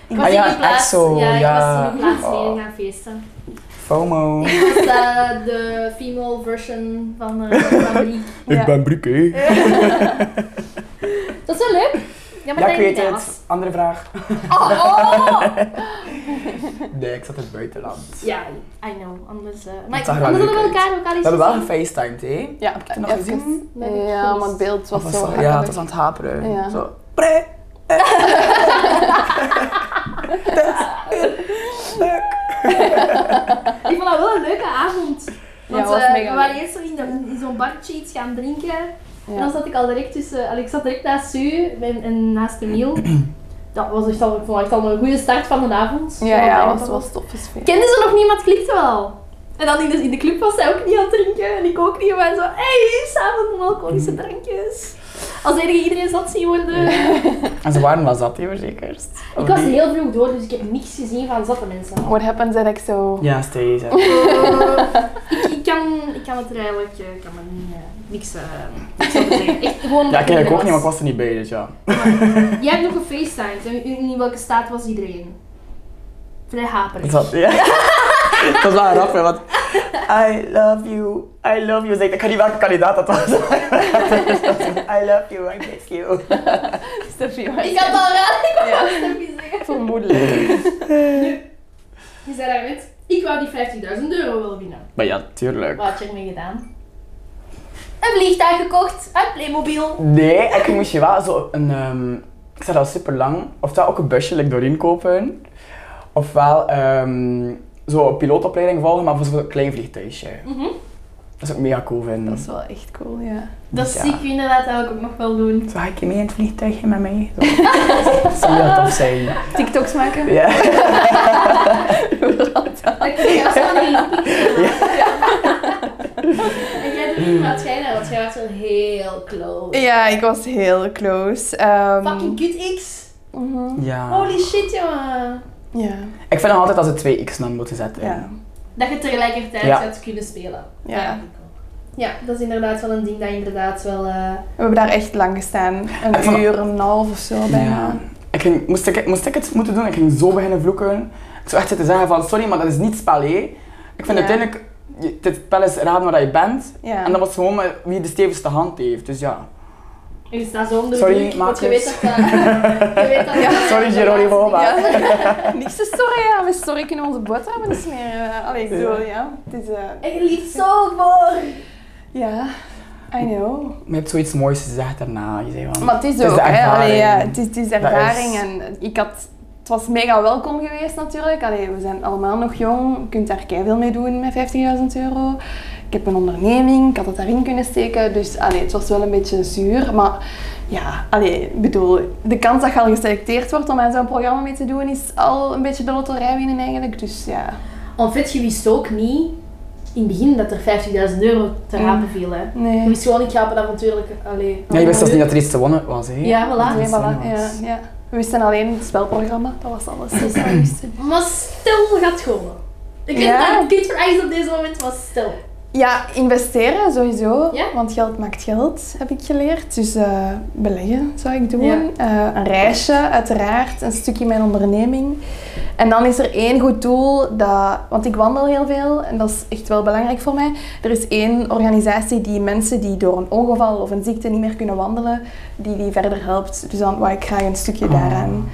A: Ik was
C: Ah ja,
A: in die plaats,
C: echt zo,
A: ja,
C: ja.
A: ik was in die plaats
C: Oh.
A: mee gaan feesten.
C: FOMO.
A: Ik was eh, de female version van eh, van Brie.
B: Ja.
C: ben Bruke.
A: Dat is wel leuk. Ja, maar
C: Ja, ik weet
A: niet
C: het. Andere vraag.
B: Oh, oh!
C: Nee, ik zat in het buitenland.
A: Ja, I know. Anders, eh maar
C: Het zag er wel
A: anders
C: leuk
A: hadden we
C: uit.
A: elkaar ook al
C: We
A: eens
C: hebben wel
A: gezien.
C: gefacetimed, hè?
B: Ja,
C: Heb je het nog
B: even.
C: gezien?
A: Ben ik
B: Ja,
A: gemist.
B: maar het beeld was
C: Of
B: zo...
C: dat- Oh, ja, het
B: grappig.
C: was aan het haperen.
B: Ja.
C: Zo. Pre.
A: Ik vond dat wel een leuke avond. Want
B: het was
A: eh,
B: mega
A: we waren
B: leuk.
A: eerst zo in, de- in zo'n bartje iets gaan drinken. En
B: Ja.
A: dan zat ik al direct tussen... al, Ik zat direct naast Sue en, en naast Emiel. Dat was echt al, ik vond dat echt al een goede start van de avond.
B: Ja,
A: blij
B: ja,
A: dat
B: was,
A: dat
B: was tof gespeeld.
A: Kenden ze nog niemand, klikte wel. En dan in de, in de club was zij ook niet aan het drinken en ik ook niet. Maar zo, hé, hey, samen alcoholische drankjes. Als enige iedereen zat zien worden.
C: En ze waren wel zat, hè, verzekerd.
A: Ik was heel vroeg door, dus ik heb niks gezien van zatte mensen.
B: What happens is ik zo...
C: Ja, steeds. hè.
A: Eh, ik, ik, kan, ik kan het er eigenlijk eh, ik kan er niet, eh, niks, eh niks over zeggen. Echt gewoon
C: Ja,
A: omdat
C: ik eigenlijk
A: er
C: ook niet, maar ik was er niet bij, dus ja.
A: Jij hebt nog gefacetimed en in, in welke staat was iedereen? Vrij haperig.
C: Dat was, ja. dat was wel grappig, hè, want... I love you, I love you. Dus ik ik weet niet welke kandidaat dat was. I love you, I miss you.
B: Steffi
A: Ik had al raad, ik wou het even zeggen.
B: vermoedelijk.
A: Je zei daarnet, ik wou die 50.000 euro wel winnen.
C: Maar ja, tuurlijk.
A: Wat had je ermee gedaan? Een vliegtuig gekocht uit Playmobil.
C: Nee, ik moest je wel zo een... ehm, ik zat al super lang. Ofwel ook een busje like, doorheen kopen. Ofwel ehm, zo een pilootopleiding volgen, maar voor zo'n klein vliegtuigje. Dat is ook mega cool vinden.
B: Dat is wel echt cool, ja.
A: Dat is
C: Ja.
A: ziek, inderdaad, dat wil ik ook nog wel doen.
C: Zo, ga ik mee in het vliegtuigje met mij? Zo. dat zou heel tof zijn.
B: TikToks maken?
C: Ja.
A: Dat kun je als van die looping En jij doet wat jij daar, want jij was wel heel close.
B: Ja, ik was heel close. Ehm,
A: Fucking kut X.
B: mhm.
C: ja.
A: Holy shit, jongen.
B: Ja,
C: Ik vind nog altijd dat ze twee X'en aan moeten zetten.
B: ja.
A: Dat je tegelijkertijd
C: Ja.
A: had kunnen spelen.
B: ja.
A: Ja, dat is inderdaad wel een ding dat inderdaad wel... eh,
B: We hebben daar echt lang gestaan.
C: Ik vond-
B: Een uur en een half of zo
C: Ja.
B: bijna.
C: Ik ging, moest, ik, moest ik het moeten doen? Ik ging zo beginnen vloeken. Ik zou echt zitten zeggen van, sorry, maar dat is niet spel, hè. Ik vind
B: Ja.
C: uiteindelijk, je- dit spel is raden waar je bent.
B: Ja.
C: En dat was gewoon maar wie de stevigste hand heeft, dus ja.
A: je staat zo onder
C: Sorry,
A: druk, want je weet
C: makers.
A: dat... eh, je weet dat
C: Sorry, Geronimo, maar-
B: Ja. Niks te sorry, ja. We sorry kunnen onze bot hebben. Dat is meer... eh, allee, ik bedoel, ja. Het is... eh,
A: Ik liep zo voor.
B: ja. I know.
C: Maar je hebt zoiets moois gezegd daarna. Je zei van,
B: Maar het is
C: de
B: ook, hè.
C: ervaring.
B: Allee, ja, het is, het is ervaring.
C: is-
B: En ik had, het was mega welkom geweest natuurlijk. Allee, we zijn allemaal nog jong. Je kunt daar veel mee doen met 15.000 euro. Ik heb een onderneming, ik had het daarin kunnen steken. Dus allee, het was wel een beetje zuur. Maar ja, allee, ik bedoel, de kans dat je al geselecteerd wordt om aan zo'n programma mee te doen, is al een beetje de loterij winnen eigenlijk. Dus ja.
A: En fait, je wist ook niet in het begin dat er 50.000 euro
C: Mm.
A: te rapen viel. Hè. Je
B: Nee.
A: wist gewoon, ik ga op een avontuurlijk... Allee,
C: Ja, je wist zelfs niet dat er iets te wonnen was, hè.
A: Ja, voilà.
C: Dat
B: Nee,
C: is
B: voilà.
C: wel
B: Ja,
C: nice.
B: ja. We wisten alleen het spelprogramma, dat was alles. Dus dat wisten we.
A: Maar stil gaat gewoon. Ik weet
B: Ja.
A: dat Kid for Eyes op deze moment was stil.
B: Ja, investeren sowieso.
A: Ja?
B: Want geld maakt geld, heb ik geleerd. Dus eh, beleggen zou ik doen.
A: Ja.
B: Eh, een reisje, uiteraard. Een stukje mijn onderneming. En dan is er één goed doel, dat, want ik wandel heel veel en dat is echt wel belangrijk voor mij. Er is één organisatie die mensen die door een ongeval of een ziekte niet meer kunnen wandelen, die die verder helpt. Dus dan wou ik graag een stukje
C: Oh.
B: daaraan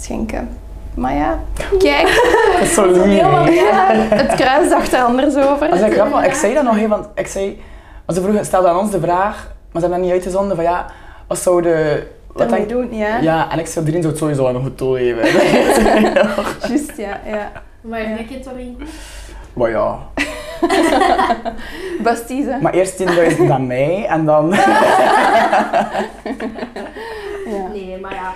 B: schenken. Maar ja, kijk,
C: Solide.
B: ja, het kruis dacht er anders over.
C: Dat is echt grappig, want ik zei dat nog even, want ik zei... Want ze vroegen, stelden aan ons de vraag, maar ze hebben dat niet uitgezonden, van ja, wat zou de... Wat
B: Ermee
C: denk-
B: doen, ja.
C: Ja, en ik zou iedereen zou het sowieso aan een goed tool geven.
B: Juist, ja, ja.
A: Maar
B: Ja.
A: ik het erin.
C: maar ja.
B: Basties, hè.
C: Maar eerst 10.000 aan mij, en dan...
B: Ja.
A: Nee, maar ja.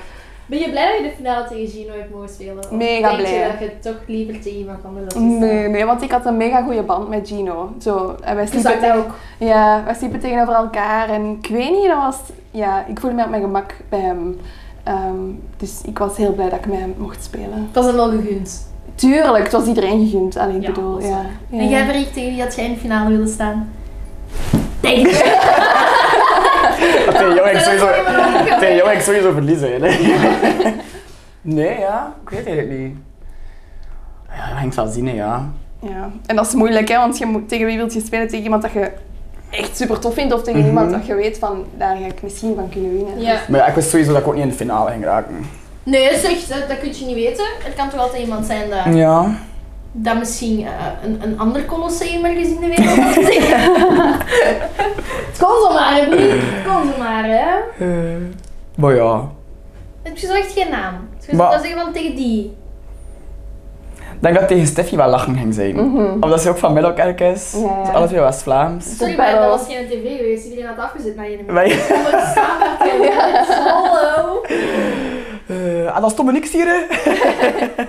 A: Ben je blij dat je de finale tegen Gino hebt mogen spelen? Of
B: Mega
A: denk
B: blij.
A: je dat je het toch liever tegen iemand anders had gestaan?
B: Nee, nee, want ik had een mega goede band met Gino. Zo, en wij
A: Dus
B: sliepen,
A: dat ook.
B: ja, wij sliepen tegenover elkaar en ik weet niet, dat was... Ja, ik voelde me op mijn gemak bij hem. Ehm, dus ik was heel blij dat ik met hem mocht spelen.
A: Het was hem wel gegund.
B: Tuurlijk, het was iedereen gegund, alleen ik
A: Ja,
B: bedoel,
A: dat is
B: ja. ja.
A: En jij, Verriek, tegen wie had jij in de finale willen staan? Tegen jou.
C: Tegen jou, ik sowieso,
A: Dat is helemaal niet gebeurd.
C: tegen jou, ik sowieso verliezen. Nee. nee, ja, ik weet eigenlijk niet. Ja, dat hangt wel zien, hè, ja.
B: Ja, en dat is moeilijk, hè, want je moet, tegen wie wilt je spelen? Tegen iemand dat je echt super tof vindt of tegen iemand dat je weet van, daar ga ik misschien van kunnen winnen.
A: Ja.
C: Maar ja, ik wist sowieso dat ik ook niet in de finale ging raken.
A: Nee, zeg, dat, dat kun je niet weten. Het kan toch altijd iemand zijn dat,
C: Ja.
A: dat misschien eh, een, een ander colosseum ergens in de wereld had gezeten. Het kon zomaar, hè, Brie. Het kon zomaar, hè.
C: maar ja.
A: Heb je zo echt geen naam? Dus je
C: Maar-
A: zou dan zeggen van tegen die.
C: Ik denk dat tegen Steffi wel lachen ging zijn.
B: Dus- Mhm.
C: Omdat ze ook van Middelkerk is.
B: Ja, ja.
C: Dus alle twee West-Vlaams.
A: Sorry, maar dat was geen tv geweest. Iedereen had afgezet naar je.
C: Wij...
A: Hallo.
C: Eh, ah, dat is Dominique hier, hè?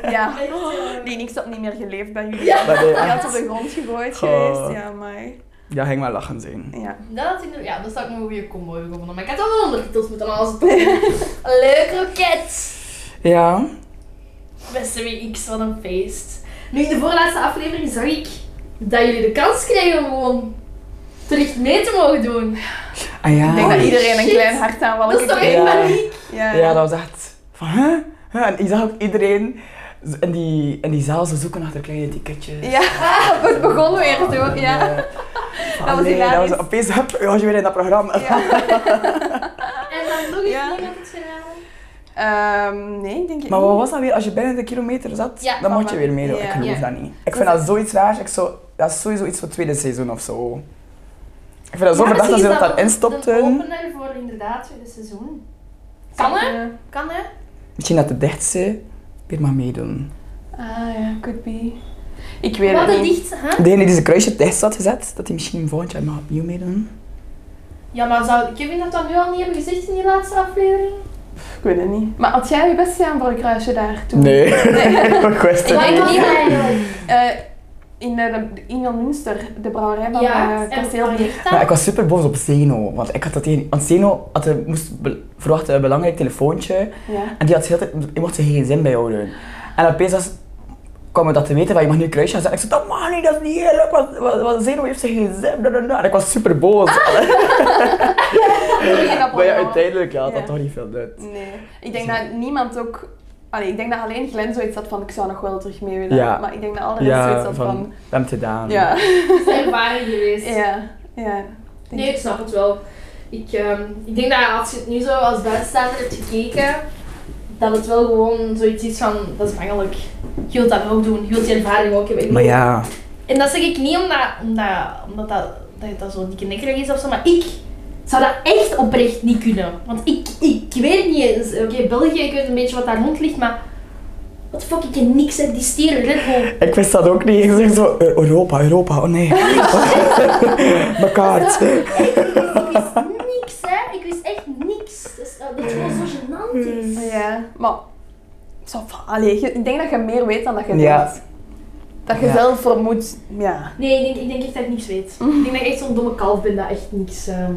B: Ja.
A: Echt, eh,
B: Die niks had niet meer geleefd bij jullie.
A: Ja.
C: Maar nee,
B: Die
C: ah,
B: had op de grond gegooid
C: Goh.
B: geweest, ja, maar...
C: Ja, ging wel lachen zijn.
B: Ja.
A: Dat had ik nog- ja, dat zou ik nog een goede combo hebben gevonden. Maar ik had wel wel ondertitels moeten alles doen. Leuk roket.
C: Ja.
A: Beste WX, wat een feest. Nu, in de voorlaatste aflevering zag ik dat jullie de kans kregen om gewoon terug mee te mogen doen.
C: Ah ja.
B: Ik denk dat
A: Holy
B: iedereen een
A: shit.
B: klein hart aan
A: Dat
B: welke
A: is toch
B: keer.
A: echt
C: Ja.
A: paniek?
B: Ja.
C: Ja, dat was echt van, hè? Hè? En ik zag ook iedereen z- in die, in die zaal zo zoeken achter kleine etiketjes.
B: Ja, het begon weer zo, ja.
C: dat
B: was
C: was Ah, nee, dat
B: hilarisch.
C: was opeens, hup, was je weer in dat programma.
B: Ja.
A: En dan nog eens
B: Ja.
A: niemand het gedaan.
B: Ehm, nee, ik denk het
C: Maar
B: niet.
C: wat was dat weer? Als je binnen de kilometer zat,
A: Ja,
C: dan
B: van
C: moet je
B: wat-
C: weer meedoen.
B: ja.
C: Ik geloof
A: Ja.
C: dat niet. Ik vind dat zoiets raars. Ik zou, dat is sowieso iets voor het tweede seizoen of zo. Ik vind dat zo
A: Ja,
C: verdacht dat ze
A: misschien
C: dat
A: is
C: daarin
A: De
C: stopten.
A: opener voor inderdaad het seizoen. Kan hè? Kan hè?
C: Misschien dat de dichtste weer mag meedoen.
B: Ah ja, could be. Ik weet
A: Wat
B: het
A: een
B: niet.
A: dichtste, hè?
C: Degene die zijn kruisje dichtst had gezet, dat hij misschien volgend jaar mag opnieuw meedoen.
A: Ja, maar zou Kevin dat dan nu al niet hebben gezegd in die laatste aflevering?
B: Ik weet het niet. Maar had jij je best gedaan voor een kruisje daar toen?
C: Nee, ik wist het
B: Ik
A: Maar
B: denk
A: ik
C: niet.
A: was
B: niet.
A: eigenlijk.
B: Eh, in, eh, de, in Münster, de brouwerij van
A: Ja,
B: ja, eh,
A: en
B: Kasteel Bier.
A: Marita?
C: Maar ik was super boos op Zeno, want ik had dat tegen... Want Zeno had een, moest be- verwachten een belangrijk telefoontje
B: Ja.
C: en die had de hele tijd... Je mocht zijn gsm bijhouden. En opeens was, kwam me dat te weten, van je mag nu een kruisje gaan zetten. Ik zei, dat mag niet, dat is niet eerlijk, want, want, want Zeno heeft zijn gsm. da, da, da. En ik was super boos.
B: Ah,
C: maar ja, uiteindelijk, ja, dat
B: Ja.
C: had toch niet veel nut.
B: Nee. Ik denk dat niemand ook... Allee, ik denk dat alleen Glenn zoiets had van, ik zou nog wel terug mee willen.
C: Ja.
B: Maar ik denk dat alle rest zoiets
C: Ja,
B: had
C: van,
B: van...
C: we hebben het gedaan.
B: Ja.
A: Dat is ervaring geweest.
B: Ja. Ja.
A: Nee, ik snap het wel. Ik, ehm, ik denk dat als je het nu zo als buitenstaander hebt gekeken, dat het wel gewoon zoiets is van, dat is makkelijk. Je wilt dat ook doen, je wilt die ervaring ook hebben.
C: Maar ja,
A: En dat zeg ik niet omdat, omdat, omdat dat, dat, dat zo dikke nekkerig is of zo, maar ik zou dat echt oprecht niet kunnen. Want ik, ik weet niet eens, oké, België, ik weet een beetje wat daar rond ligt, maar wat fuck, ik ken niks, hè. die stieren, let gewoon.
C: ik wist dat ook niet. Ik zeg zo, eh, Europa, Europa, oh nee. Mijn kaart.
A: Ik wist niks, hè. Ik wist echt niks. Dat is, dat is gewoon zo gênant. is.
B: Ja. Maar... Zo, van- allee, je- ik denk dat je meer weet dan dat je
C: Ja.
B: denkt. Dat je
C: Ja.
B: zelf vermoedt. Ja.
A: Nee, ik denk, ik denk echt dat ik niks weet. Ik denk dat ik echt zo'n domme kalf ben dat echt niks... ehm,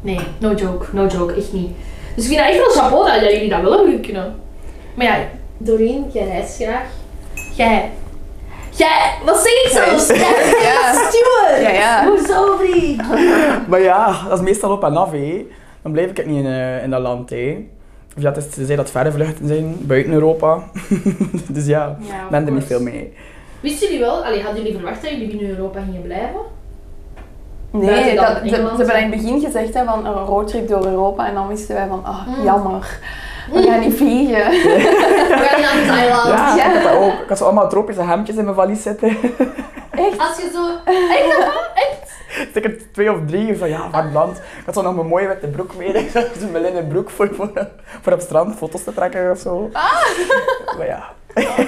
A: Nee, no joke, no joke, echt niet. Dus ik vind dat echt wel chapeau dat jullie dat wel hebben kunnen. Maar ja, Doreen, jij reist graag. Jij... Jij... Wat zeg ik zelfs? Jij bent
B: Ja.
A: steward!
B: Ja, ja.
A: Hoezo, vriend?
C: Maar ja, dat is meestal op en af, hé. Dan blijf ik niet in, eh, in dat land, hé. Of ja, het is te zeggen dat verre vluchten zijn, buiten Europa. dus ja,
A: Ja, of
C: ben er niet
A: course.
C: veel mee.
A: Wisten jullie wel... Allee, hadden jullie verwacht dat jullie binnen Europa gingen blijven?
B: Nee,
A: Buiten dan
B: dat, ze,
A: Engeland,
B: ze hebben
A: hè?
B: in het begin gezegd hè, van een roadtrip door Europa en dan wisten wij van, ah,
A: Mm.
B: jammer. we gaan niet vliegen.
A: We gaan niet aan het eiland.
C: Ja,
B: ja.
C: Ik, had dat ook. ik had zo allemaal tropische hemdjes in mijn valies zitten.
A: Als je zo... Echt? Echt?
C: Stik er Dus twee of drie van ja, warm land. Ik had zo nog mijn mooie witte broek mee. Ik had zo'n linnen broek voor, voor, voor op strand foto's te trekken of zo.
B: Ah.
C: Maar ja.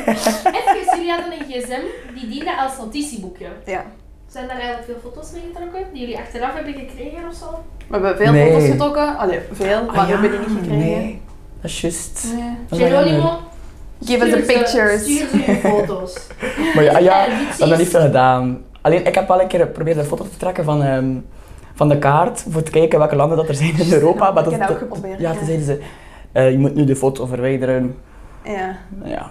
A: Echt? Jullie hadden een gsm die diende als notitieboekje.
B: Ja.
A: Zijn daar eigenlijk veel foto's mee getrokken die jullie achteraf hebben gekregen of zo?
B: We hebben veel
C: Nee.
B: foto's getrokken. Allee, veel, Ah, maar we hebben die niet gekregen.
C: Ah, Nee, dat is juist.
B: Nee.
C: Dat is wel jammer.
A: Geronimo,
B: Give us
A: stuur
B: the
A: ze-
B: pictures.
A: Stuur ze je foto's.
C: Maar ja, ah,
A: Eh,
C: ja,
A: dit
C: dat hebben we niet
A: is-
C: veel gedaan. Alleen, ik heb wel een keer geprobeerd een foto te trekken van, ehm, van de kaart, voor te kijken welke landen dat er zijn in Europa. Maar
B: Ik
C: dat,
B: heb dat ook
C: dat-
B: geprobeerd,
C: Ja,
B: ja.
C: toen zeiden ze, eh, je moet nu de foto verwijderen.
B: Ja.
C: Ja.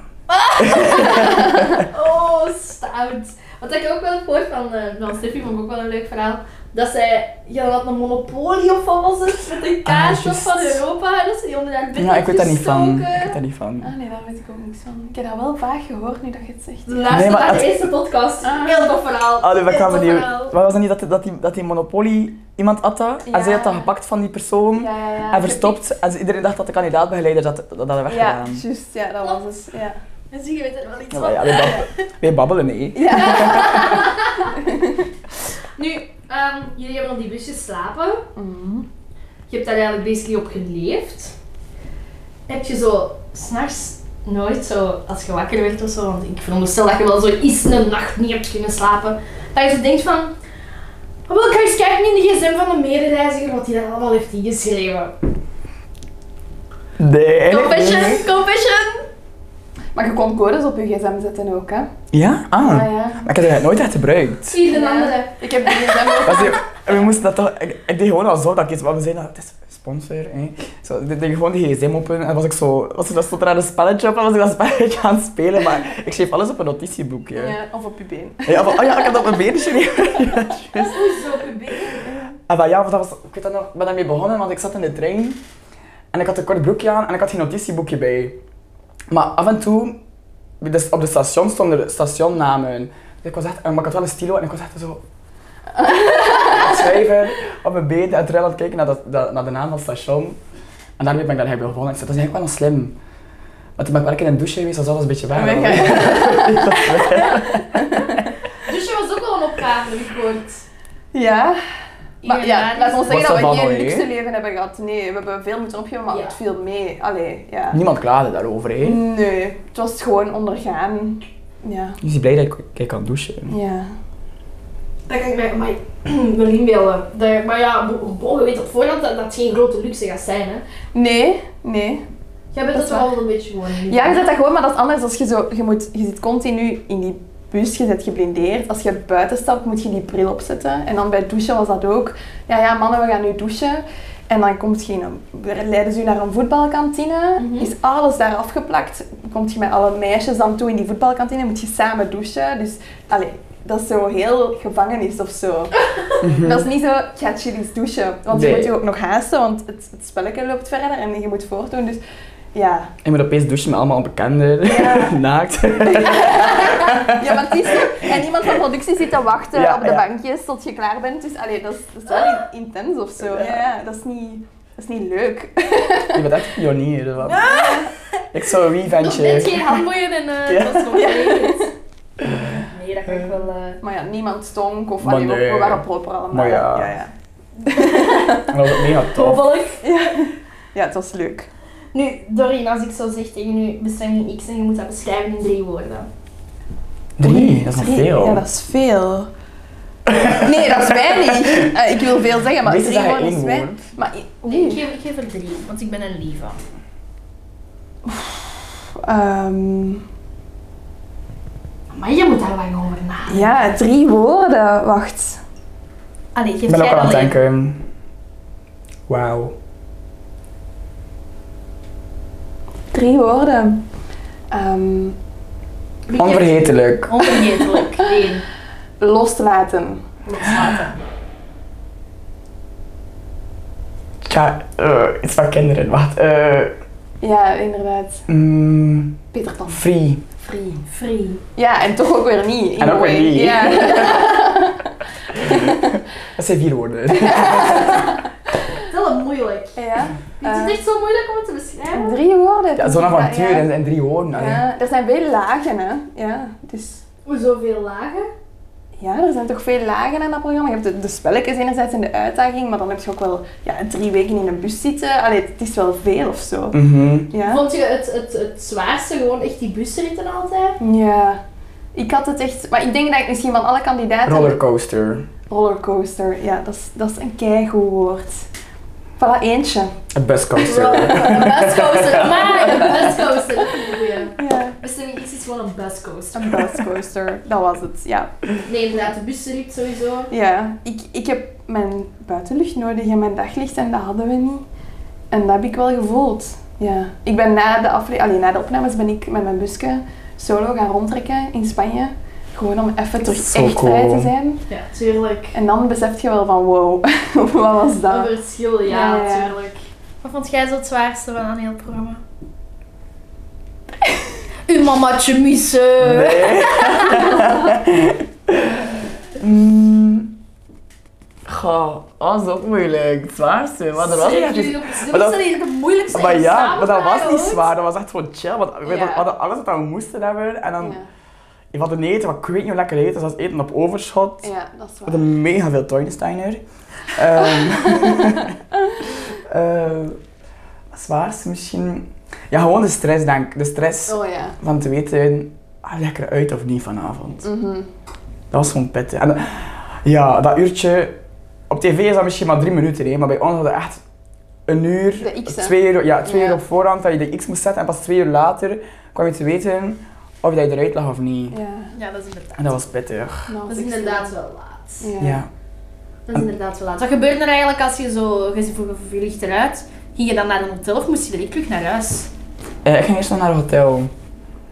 A: Oh, stout. Wat ik ook wel heb gehoord van, eh van Steffi, vond ik ook wel een leuk verhaal. Dat zij, ja, wat een monopolie of wat was het? Met een kaart
C: Ah, juist.
A: van Europa. en Dat ze die onder haar bed
C: ja, ik weet daar niet van. Ik weet
A: gestoken.
C: daar niet van.
B: Ah nee, daar weet ik ook niks van. Ik heb dat wel vaag gehoord nu dat je het zegt.
A: Luister
C: Nee, maar
A: naar de
C: het-
A: eerste podcast.
B: Ah.
A: Heel tof verhaal.
C: Ah, nee, we
A: Heel
C: kwamen
A: tof
C: niet.
A: verhaal.
C: Maar was het niet dat, dat, die, dat die Monopoly iemand at dat?
B: Ja.
C: En zij had dat gepakt van die persoon
B: Ja, ja, ja.
C: en verstopt. En ze- iedereen dacht dat de kandidaatbegeleider dat, dat, dat had
B: Ja,
C: weggedaan.
B: juist. Ja, dat was het. Ja.
A: En zie je weet er wel iets
C: Ja,
A: van.
C: maar ja, wij, babbelen, wij babbelen mee.
B: Ja.
A: Nu, ehm, jullie hebben op die busjes slapen.
B: Mhm.
A: Je hebt daar eigenlijk basically op geleefd. Heb je zo s'nachts nooit zo, als je wakker werd of zo, want ik veronderstel dat je wel zo eens een nacht niet hebt kunnen slapen, dat je zo denkt van, wil ik ga eens kijken in de gsm van de medereiziger wat hij daar allemaal heeft ingeschreven.
C: Nee.
A: Confession, confession!
B: Maar je kon codes op je gsm zetten ook, hè?
C: Ja? Ah.
B: Ja, ja.
C: Maar ik heb dat nooit echt gebruikt.
A: Zie de
B: Ja.
A: andere.
B: Ik heb die gsm ook.
C: Dat is die- en we moesten dat toch... Ik, ik deed gewoon alsof dat ik iets... Maar we zeiden dat het is sponsor, hè. Zo, ik deed gewoon die gsm open en was ik zo... Was, er- stond er een spelletje op en was ik dat spelletje aan het spelen. Maar ik schreef alles op een notitieboekje. Ja.
B: Ja, of op je been.
C: van, oh ja, ik heb dat op mijn been geschreven.
A: Hoezo, bebé?
C: En van, ja, want dat was... Ik weet dat nog, ik ben daarmee begonnen, want ik zat in de trein. En ik had een kort broekje aan en ik had geen notitieboekje bij. Maar af en toe... Dus op de station stonden er stationnamen. Dus ik was echt... Maar ik had wel een stilo en ik was echt zo... aan het schrijven op mijn been en terwijl aan het kijken naar, dat, dat- naar de naam van het station. En daarmee ben ik daar eigenlijk begonnen. Ik zei, dat is eigenlijk wel nog slim. Maar toen ben ik werken in een douche geweest, dat was alles een beetje weg.
B: Weg,
A: Dus je was ook al een opgave, heb ik gehoord.
B: Ja. Maar ja,
A: Inderdaad.
B: laat ons zeggen
C: Was
B: dat
C: dat
B: we
C: dan
B: geen
C: al, hè?
B: luxe leven hebben gehad. Nee, we hebben veel moeten opgeven, maar
A: Ja.
B: het viel mee. Allee, ja.
C: Niemand klaagde daarover,
B: Mm.
C: hè.
B: Nee, het was gewoon ondergaan. Ja.
C: Dus ik ben blij dat ik- ik kan douchen.
B: Ja.
A: Dat kan ik mij amai, wel inbeelden. Dat- Maar ja, bo- bo- je weet op voorhand dat dat het geen grote luxe gaat zijn. Hè.
B: Nee, nee.
A: Jij bent
B: Dat
A: dat
B: is
A: toch al
B: waar.
A: een beetje gewoon. niet?
B: Ja, je zet dat gewoon, maar dat is anders als je zo... Je, moet, je zit continu in die bus, je zit geblindeerd. Als je buiten stapt, moet je die bril opzetten. En dan bij het douchen was dat ook. Ja, ja, mannen, we gaan nu douchen. En dan komt je in een, leiden ze je naar een voetbalkantine. Is alles daar afgeplakt. Komt je met alle meisjes dan toe in die voetbalkantine. Moet je samen douchen. Dus, allee, dat is zo heel gevangenis of zo. dat is niet zo, ik ga chill eens douchen. Want je
C: Nee.
B: moet je ook nog haasten, want het, het spelletje loopt verder en je moet voortdoen. Dus ja,
C: Ik moet opeens douchen met allemaal onbekenden.
B: Ja.
C: Naakt.
B: Ja, maar het is zo- En iemand van productie zit te wachten
C: Ja,
B: op de
C: ja.
B: bankjes tot je klaar bent. Dus allee, dat, is, dat is wel in- intens of zo. Ja, ja, dat, is niet, dat is niet leuk.
C: Je bent echt pionier. Wat. Ik zou een
A: Nog net
C: eventje.
A: geen handboeien en eh,
C: Ja.
A: dat is nog niet. Nee, dat kan ik wel. eh,
B: Maar ja, niemand stonk of
C: Maar
B: allee, we- we
C: nee.
B: waren proper allemaal.
C: Maar ja.
B: Ja, ja.
C: Dat was ook mega tof.
A: Toevallig.
B: Ja, het was leuk.
A: Nu, Doreen, als ik zo zeg tegen u bestemming X en je moet dat beschrijven in drie woorden.
C: Drie, dat is nog
B: Drie- Ja,
C: veel.
B: dat is veel. Nee, dat is weinig. Eh, ik wil veel zeggen, maar
C: Meestal
B: drie
C: zeg je
B: woorden is
C: één
B: weinig.
C: woord.
B: Maar
A: Nee, ik
B: nee.
A: geef, ik geef er drie, want ik ben een lieve.
B: Ehm,
A: Maar je moet daar lang over na.
B: ja, drie woorden. Wacht.
A: Allee,
C: Ik
A: geef
C: ben ook
A: jij
C: al aan
A: dan
C: het
A: één.
C: denken. Wauw.
B: Drie woorden. Ehm,
A: Wie geeft-
C: Onvergetelijk.
A: Onvergetelijk. Eén.
B: loslaten.
A: Loslaten.
C: Tja, eh, iets van kinderen. Wacht. eh,
B: Ja, inderdaad.
C: mm,
B: Peter Pan.
C: free.
B: Free.
A: Free.
B: Ja, en toch ook weer niet. in
C: En
B: a
C: ook weer
B: way.
C: niet.
B: Ja.
C: Dat zijn vier woorden.
A: Het
D: heel moeilijk.
B: Ja.
D: Het
B: Eh,
D: is echt zo moeilijk om het te beschrijven.
B: drie woorden.
C: Ja, zo'n
B: denk ik dat,
C: avontuur Oh,
B: ja.
C: en, en drie woorden. allee.
B: Ja, er zijn veel lagen, hè. Ja, dus...
D: Hoezo veel lagen?
B: Ja, er zijn toch veel lagen aan dat programma. Je hebt de, de spelletjes enerzijds en de uitdaging, maar dan heb je ook wel ja, drie weken in een bus zitten. Allee, het is wel veel of zo.
C: Mhm.
B: Ja.
A: Vond je het, het, het zwaarste gewoon echt die busritten altijd?
B: Ja. Ik had het echt... Maar ik denk dat ik misschien van alle kandidaten...
C: Rollercoaster.
B: Rollercoaster. Ja, dat is, dat is een keigoed woord. Voilà, eentje.
C: Een buscoaster.
A: Buscoaster, maar een buscoaster.
B: Ja.
D: Bestemming X is gewoon een buscoaster.
B: Een buscoaster. Dat was het, ja.
A: Nee, inderdaad, de busrit sowieso.
B: Ja, ik, ik heb mijn buitenlucht nodig en mijn daglicht en dat hadden we niet. En dat heb ik wel gevoeld. Ja. Ik ben na de, afle- allee, na de opnames ben ik met mijn busje solo gaan rondtrekken in Spanje. Gewoon om even terug
C: Zo
B: echt
C: cool.
B: vrij te zijn.
A: Ja, tuurlijk.
B: En dan besef je wel van wow, wat was
A: Een
B: dat?
A: verschil, ja,
B: Ja, ja.
A: tuurlijk.
D: Wat vond jij zo het zwaarste van een heel programma? Uw mamaatje missen.
C: Nee. Mm. Goh, oh, dat is ook moeilijk. Het zwaarste. Maar dat was niet echt iets-
D: Dat
C: Maar dat-
D: was eigenlijk de moeilijkste
C: Maar ja,
D: examen
C: maar dat was niet
D: ooit.
C: zwaar. Dat was echt gewoon chill. Want we
B: Ja.
C: hadden alles wat we moesten hebben. En dan,
B: Ja,
C: we hadden eten, wat ik weet niet hoe lekker eten. Dus dat was eten op overschot.
B: ja, dat is
C: We
B: waar.
C: hadden mega veel Toynesteiner. Ehm ehm, het zwaarste misschien... Ja, gewoon de stress, denk ik. De stress
B: Oh ja.
C: van te weten, ah, lekker uit of niet vanavond.
B: Mhm.
C: Dat was gewoon pittig. En, eh, ja, dat uurtje... Op tv is dat misschien maar drie minuten, hè, maar bij ons hadden we echt een uur,
B: De X'en.
C: twee uur, ja, twee
B: Ja.
C: uur op voorhand dat je de X moest zetten en pas twee uur later kwam je te weten of je eruit lag of niet.
B: Ja,
D: Ja, dat is inderdaad.
C: En dat was pittig.
B: nou,
D: Dat is
B: ik-
D: inderdaad wel laat.
B: Ja.
C: Ja.
D: Dat is inderdaad wel laat. Wat gebeurde er eigenlijk als je zo, je vroeg- je vliegt eruit, ging je dan naar een hotel of moest je direct terug naar huis?
C: Eh, ik ging eerst nog naar een hotel.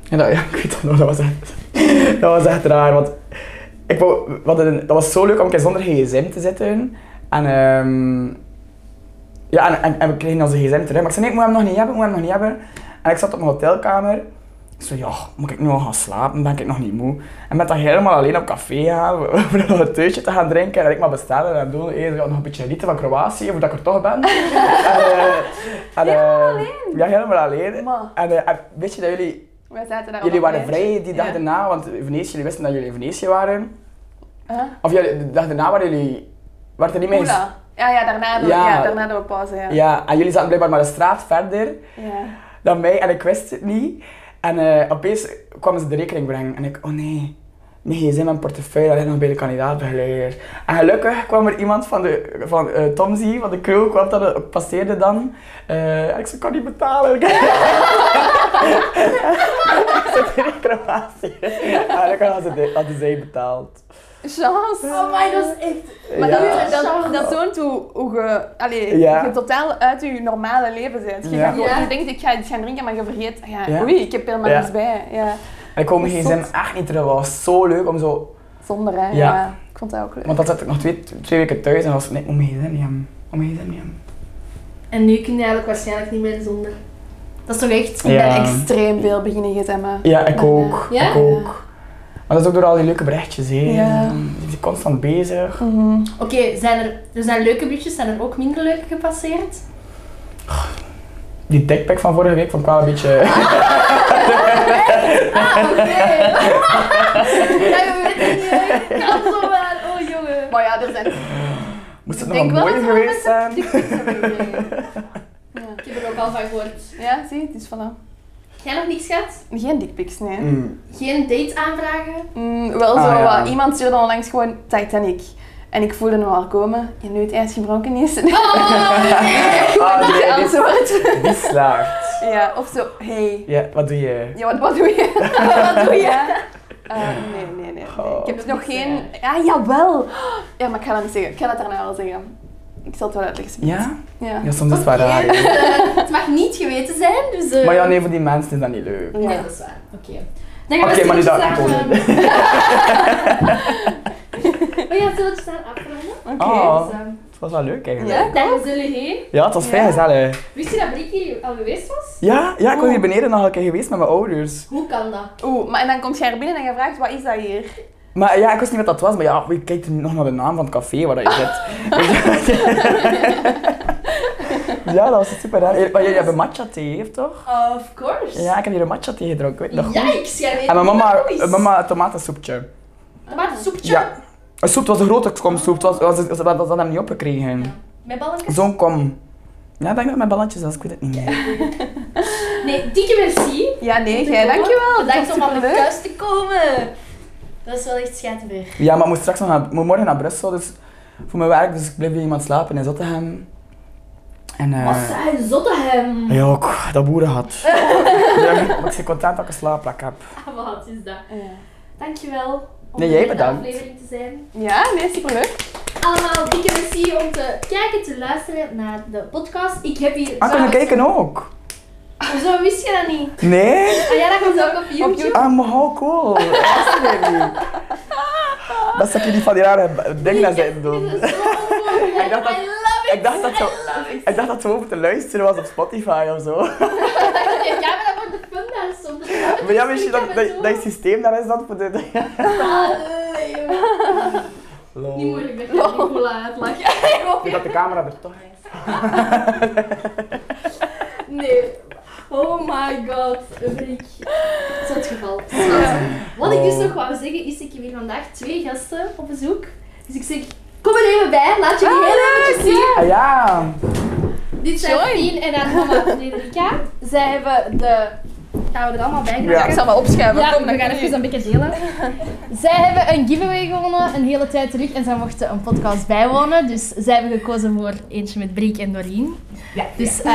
C: En dat, ja, ik weet dat nog, dat was echt, dat was echt raar. Want ik wou, we hadden- dat was zo leuk om een keer zonder gsm te zitten. En, ehm, ja, en, en, en we kregen onze gsm terug. Maar ik zei, nee, ik moet hem nog niet hebben, ik moet hem nog niet hebben. En ik zat op mijn hotelkamer. Ik zei, ja, moet ik nu al gaan slapen? Ben ik nog niet moe? En met dat je helemaal alleen op café gaan, voor nog een theetje te gaan drinken en ik maar bestellen en doen. Eerst nog een beetje genieten van Kroatië, voordat ik er toch ben. en, eh, en, helemaal alleen? Ja, helemaal alleen.
B: Maar-
C: En, eh, en weet je dat jullie,
B: Wij zaten daar
C: jullie
B: op
C: waren
B: reis.
C: vrij die dag
D: Ja.
C: daarna, want Venetië, jullie wisten dat jullie in Venetië waren.
B: Huh?
C: Of jullie, de dag daarna waren jullie, waren er niet meer... eens-
B: Oela. Ja, ja, daarna doen we,
C: Ja.
B: ja, daarna doen we pauze, ja.
C: Ja, en jullie zaten blijkbaar maar een straat verder
B: Ja.
C: dan mij en ik wist het niet. En eh, opeens kwamen ze de rekening brengen en ik, oh nee, mijn gsm en portefeuille, dat ligt nog bij de kandidaatbegeleider. En gelukkig kwam er iemand van, de, van eh Tomzy, van de crew, kwam dat, passeerde dan. Eh, en ik zei, ik kan niet betalen. ik zit hier in Kroatië. En gelukkig hadden ze- hadden zij betaald.
B: Chance.
A: Oh my, dat is echt...
B: Maar
C: Ja.
B: dat, dat, dat toont hoe, hoe je, allee,
C: Ja.
B: je totaal uit je normale leven bent. Je,
C: Ja.
B: gaat gewoon-
A: Ja.
B: je denkt, ik ga iets gaan drinken, maar je vergeet, ja,
C: Ja.
B: oei, ik heb helemaal
C: Ja.
B: niets bij. Ja.
C: En ik kon mijn
B: Dat is
C: gsm
B: zot.
C: echt niet terug. Dat was zo leuk om zo...
B: Zonder, hè. Ja.
C: Ja.
B: Ik vond dat ook leuk.
C: Want dan zat ik nog twee, twee weken thuis en was nee, om mijn gsm niet hebben. Om mijn gsm niet hebben.
A: En nu kun je eigenlijk waarschijnlijk niet meer zonder.
D: Dat is toch echt...
B: Ik
C: Ja.
B: ben extreem veel beginnen gsm'en.
C: Ja, ik ook.
A: Ja?
C: Ik ook. Maar dat is ook door al die leuke berichtjes, hè.
B: Ja.
C: Je bent constant bezig.
B: Mhm.
D: Oké, zijn er, er zijn leuke briefjes, zijn er ook minder leuke gepasseerd?
C: Die dickpic van vorige week vond ik wel een beetje...
D: Ah, oké. ja, we weten niet, hè. kan zo maar. Oh, jongen.
B: Maar ja, er zijn...
C: Moest het
B: Ik
C: nog wel
B: denk wel
C: mooier
B: dat er wel
C: geweest zijn?
B: Ja.
A: Ik heb er ook al van gehoord.
B: ja, zie, het is voilà.
A: Jij nog niks gehad?
B: Geen dickpics, nee.
C: Mm.
A: Geen date aanvragen?
B: Mm, wel
C: Ah,
B: zo
C: ja.
B: wat. Iemand stuurde onlangs gewoon Titanic. En ik voelde hem al komen. En nu het ijs gebroken is.
C: Ah, nee, dit is-
B: Antwoord.
C: dit is slaagt.
B: Ja, of zo, hey.
C: Ja, wat doe je?
B: Ja, wat, wat doe je? wat doe je? Eh, nee, nee, nee, nee.
C: Oh.
B: Ik heb dus nog geen... Ah, jawel! Ja, maar ik ga dat niet zeggen. Ik ga dat daarna wel zeggen. Ik zal het wel uitleggen.
C: Ja?
B: Ja.
C: Ja, soms is het wel raar. hè.
D: Eh, het mag niet geweten zijn, dus... eh,
C: Maar ja, nee, voor die mensen is dat niet leuk.
D: Nee,
B: Ja.
D: dat is waar. Oké.
C: Oké, maar nu dat
A: stilletjes
C: ik
A: aan,
C: het
A: Oh We gaan stilletjes aan afronden.
B: Oké.
C: Ah,
A: Dus, ehm,
C: het was wel leuk eigenlijk.
B: Ja?
A: Daar zullen we heen.
C: Ja, het was vrij
B: Ja.
C: gezellig.
A: Wist je dat Brik hier al geweest was?
C: Ja, ja, ik was
B: Oh.
C: hier beneden nog een keer geweest met mijn ouders.
A: Hoe kan dat?
B: Oeh, maar en dan komt jij er binnen en je vraagt, wat is dat hier?
C: Maar ja, ik wist niet wat dat was, maar ja, ik kijk nog naar de naam van het café waar dat je zit. Ja, dat was super raar. Eh, Maar jullie hebben matcha thee, hier, toch?
A: Of course.
C: Ja, ik heb hier een matcha thee gedronken, ik weet nog goed.
A: Yikes, jij weet
C: En mijn
A: niet
C: mama,
A: wat dat is.
C: mama een tomatensoepje.
A: Tomatensoepje.
C: Ja. Een soep, het was een grote kom soep. Het was, was, was, was, was dat hem niet opgekregen.
A: Met balletjes.
C: Zo'n kom. Ja, ik denk dat mijn balletjes was, ik weet het niet meer.
A: Nee, dikke merci.
B: Ja, nee,
A: om te
B: jij,
A: komen.
B: dankjewel. Dat
A: Bedankt
B: was
A: om aan de
B: superleuk.
A: thuis te komen. Dat is wel echt schijtenver.
C: Ja, maar ik moet straks nog naar, moet morgen naar Brussel, dus voor mijn werk, dus ik bleef bij iemand slapen in Zottegem. En eh,
A: Wat zijn zotte hem.
C: Ja, ook, dat boeren had. ja, maar ik ben content dat ik een slaapplek heb.
A: Ah, Wat is dat? Dankjewel om
C: Nee, jij
A: in de
C: bedankt.
A: aflevering te zijn.
B: Ja, nee, superleuk.
A: Allemaal dikke merci om te kijken, te luisteren naar de podcast. Ik heb hier...
C: Ah, kunnen kijken ook?
A: Zo wist je dat niet.
C: Nee?
A: Ah ja, dat komt ook op YouTube.
C: Ah, maar how cool. Absolutely. Dat is dat je die van die rare dingen naar zijn doen.
A: Dit is zo mooi.
C: Ik dacht dat-
A: I love it.
C: Ik dacht dat zo... Ik dacht dat zo over te luisteren was op Spotify of zo.
A: Ja, maar dat wordt de fun daar soms.
C: Maar ja, misschien dat, dat, dat systeem daar is dan voor de...
A: Ah, nee, joh.
C: Lol.
A: Niet moeilijk dat
C: Oh.
A: je Nicola uitlacht.
C: Ik denk dat de camera er toch is.
A: Nee. Oh my god, freak. Zo het geval. Schat. Wat ik
C: Oh.
A: dus nog wou zeggen is, ik heb hier vandaag twee gasten op bezoek. Dus ik zeg, kom er even bij, laat jullie heel eventjes zien.
C: Ah ja.
A: Dit zijn Fien en haar mama Frederica. Zij hebben de... Gaan we er allemaal bij
C: Ja.
B: Ik
A: krijgen?
B: zal maar opschuiven.
A: Ja,
B: Kom,
A: we
B: dan
A: gaan
B: kan
A: even
B: ik-
A: een beetje delen. Zij hebben een giveaway gewonnen een hele tijd terug en zij mochten een podcast bijwonen. Dus zij hebben gekozen voor eentje met Briek en Doreen. Ja, dus eh,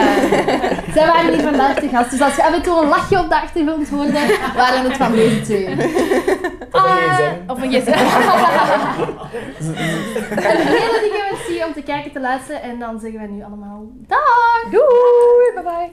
A: zij waren hier vandaag te gast. Dus als je af en toe een lachje op de achtergrond hoorde, waren het van deze twee.
C: Of een
A: Eh,
C: gsm.
A: Of een gsm. een hele dikke merci om te kijken, te luisteren. En dan zeggen wij nu allemaal dag.
B: Doei, bye bye.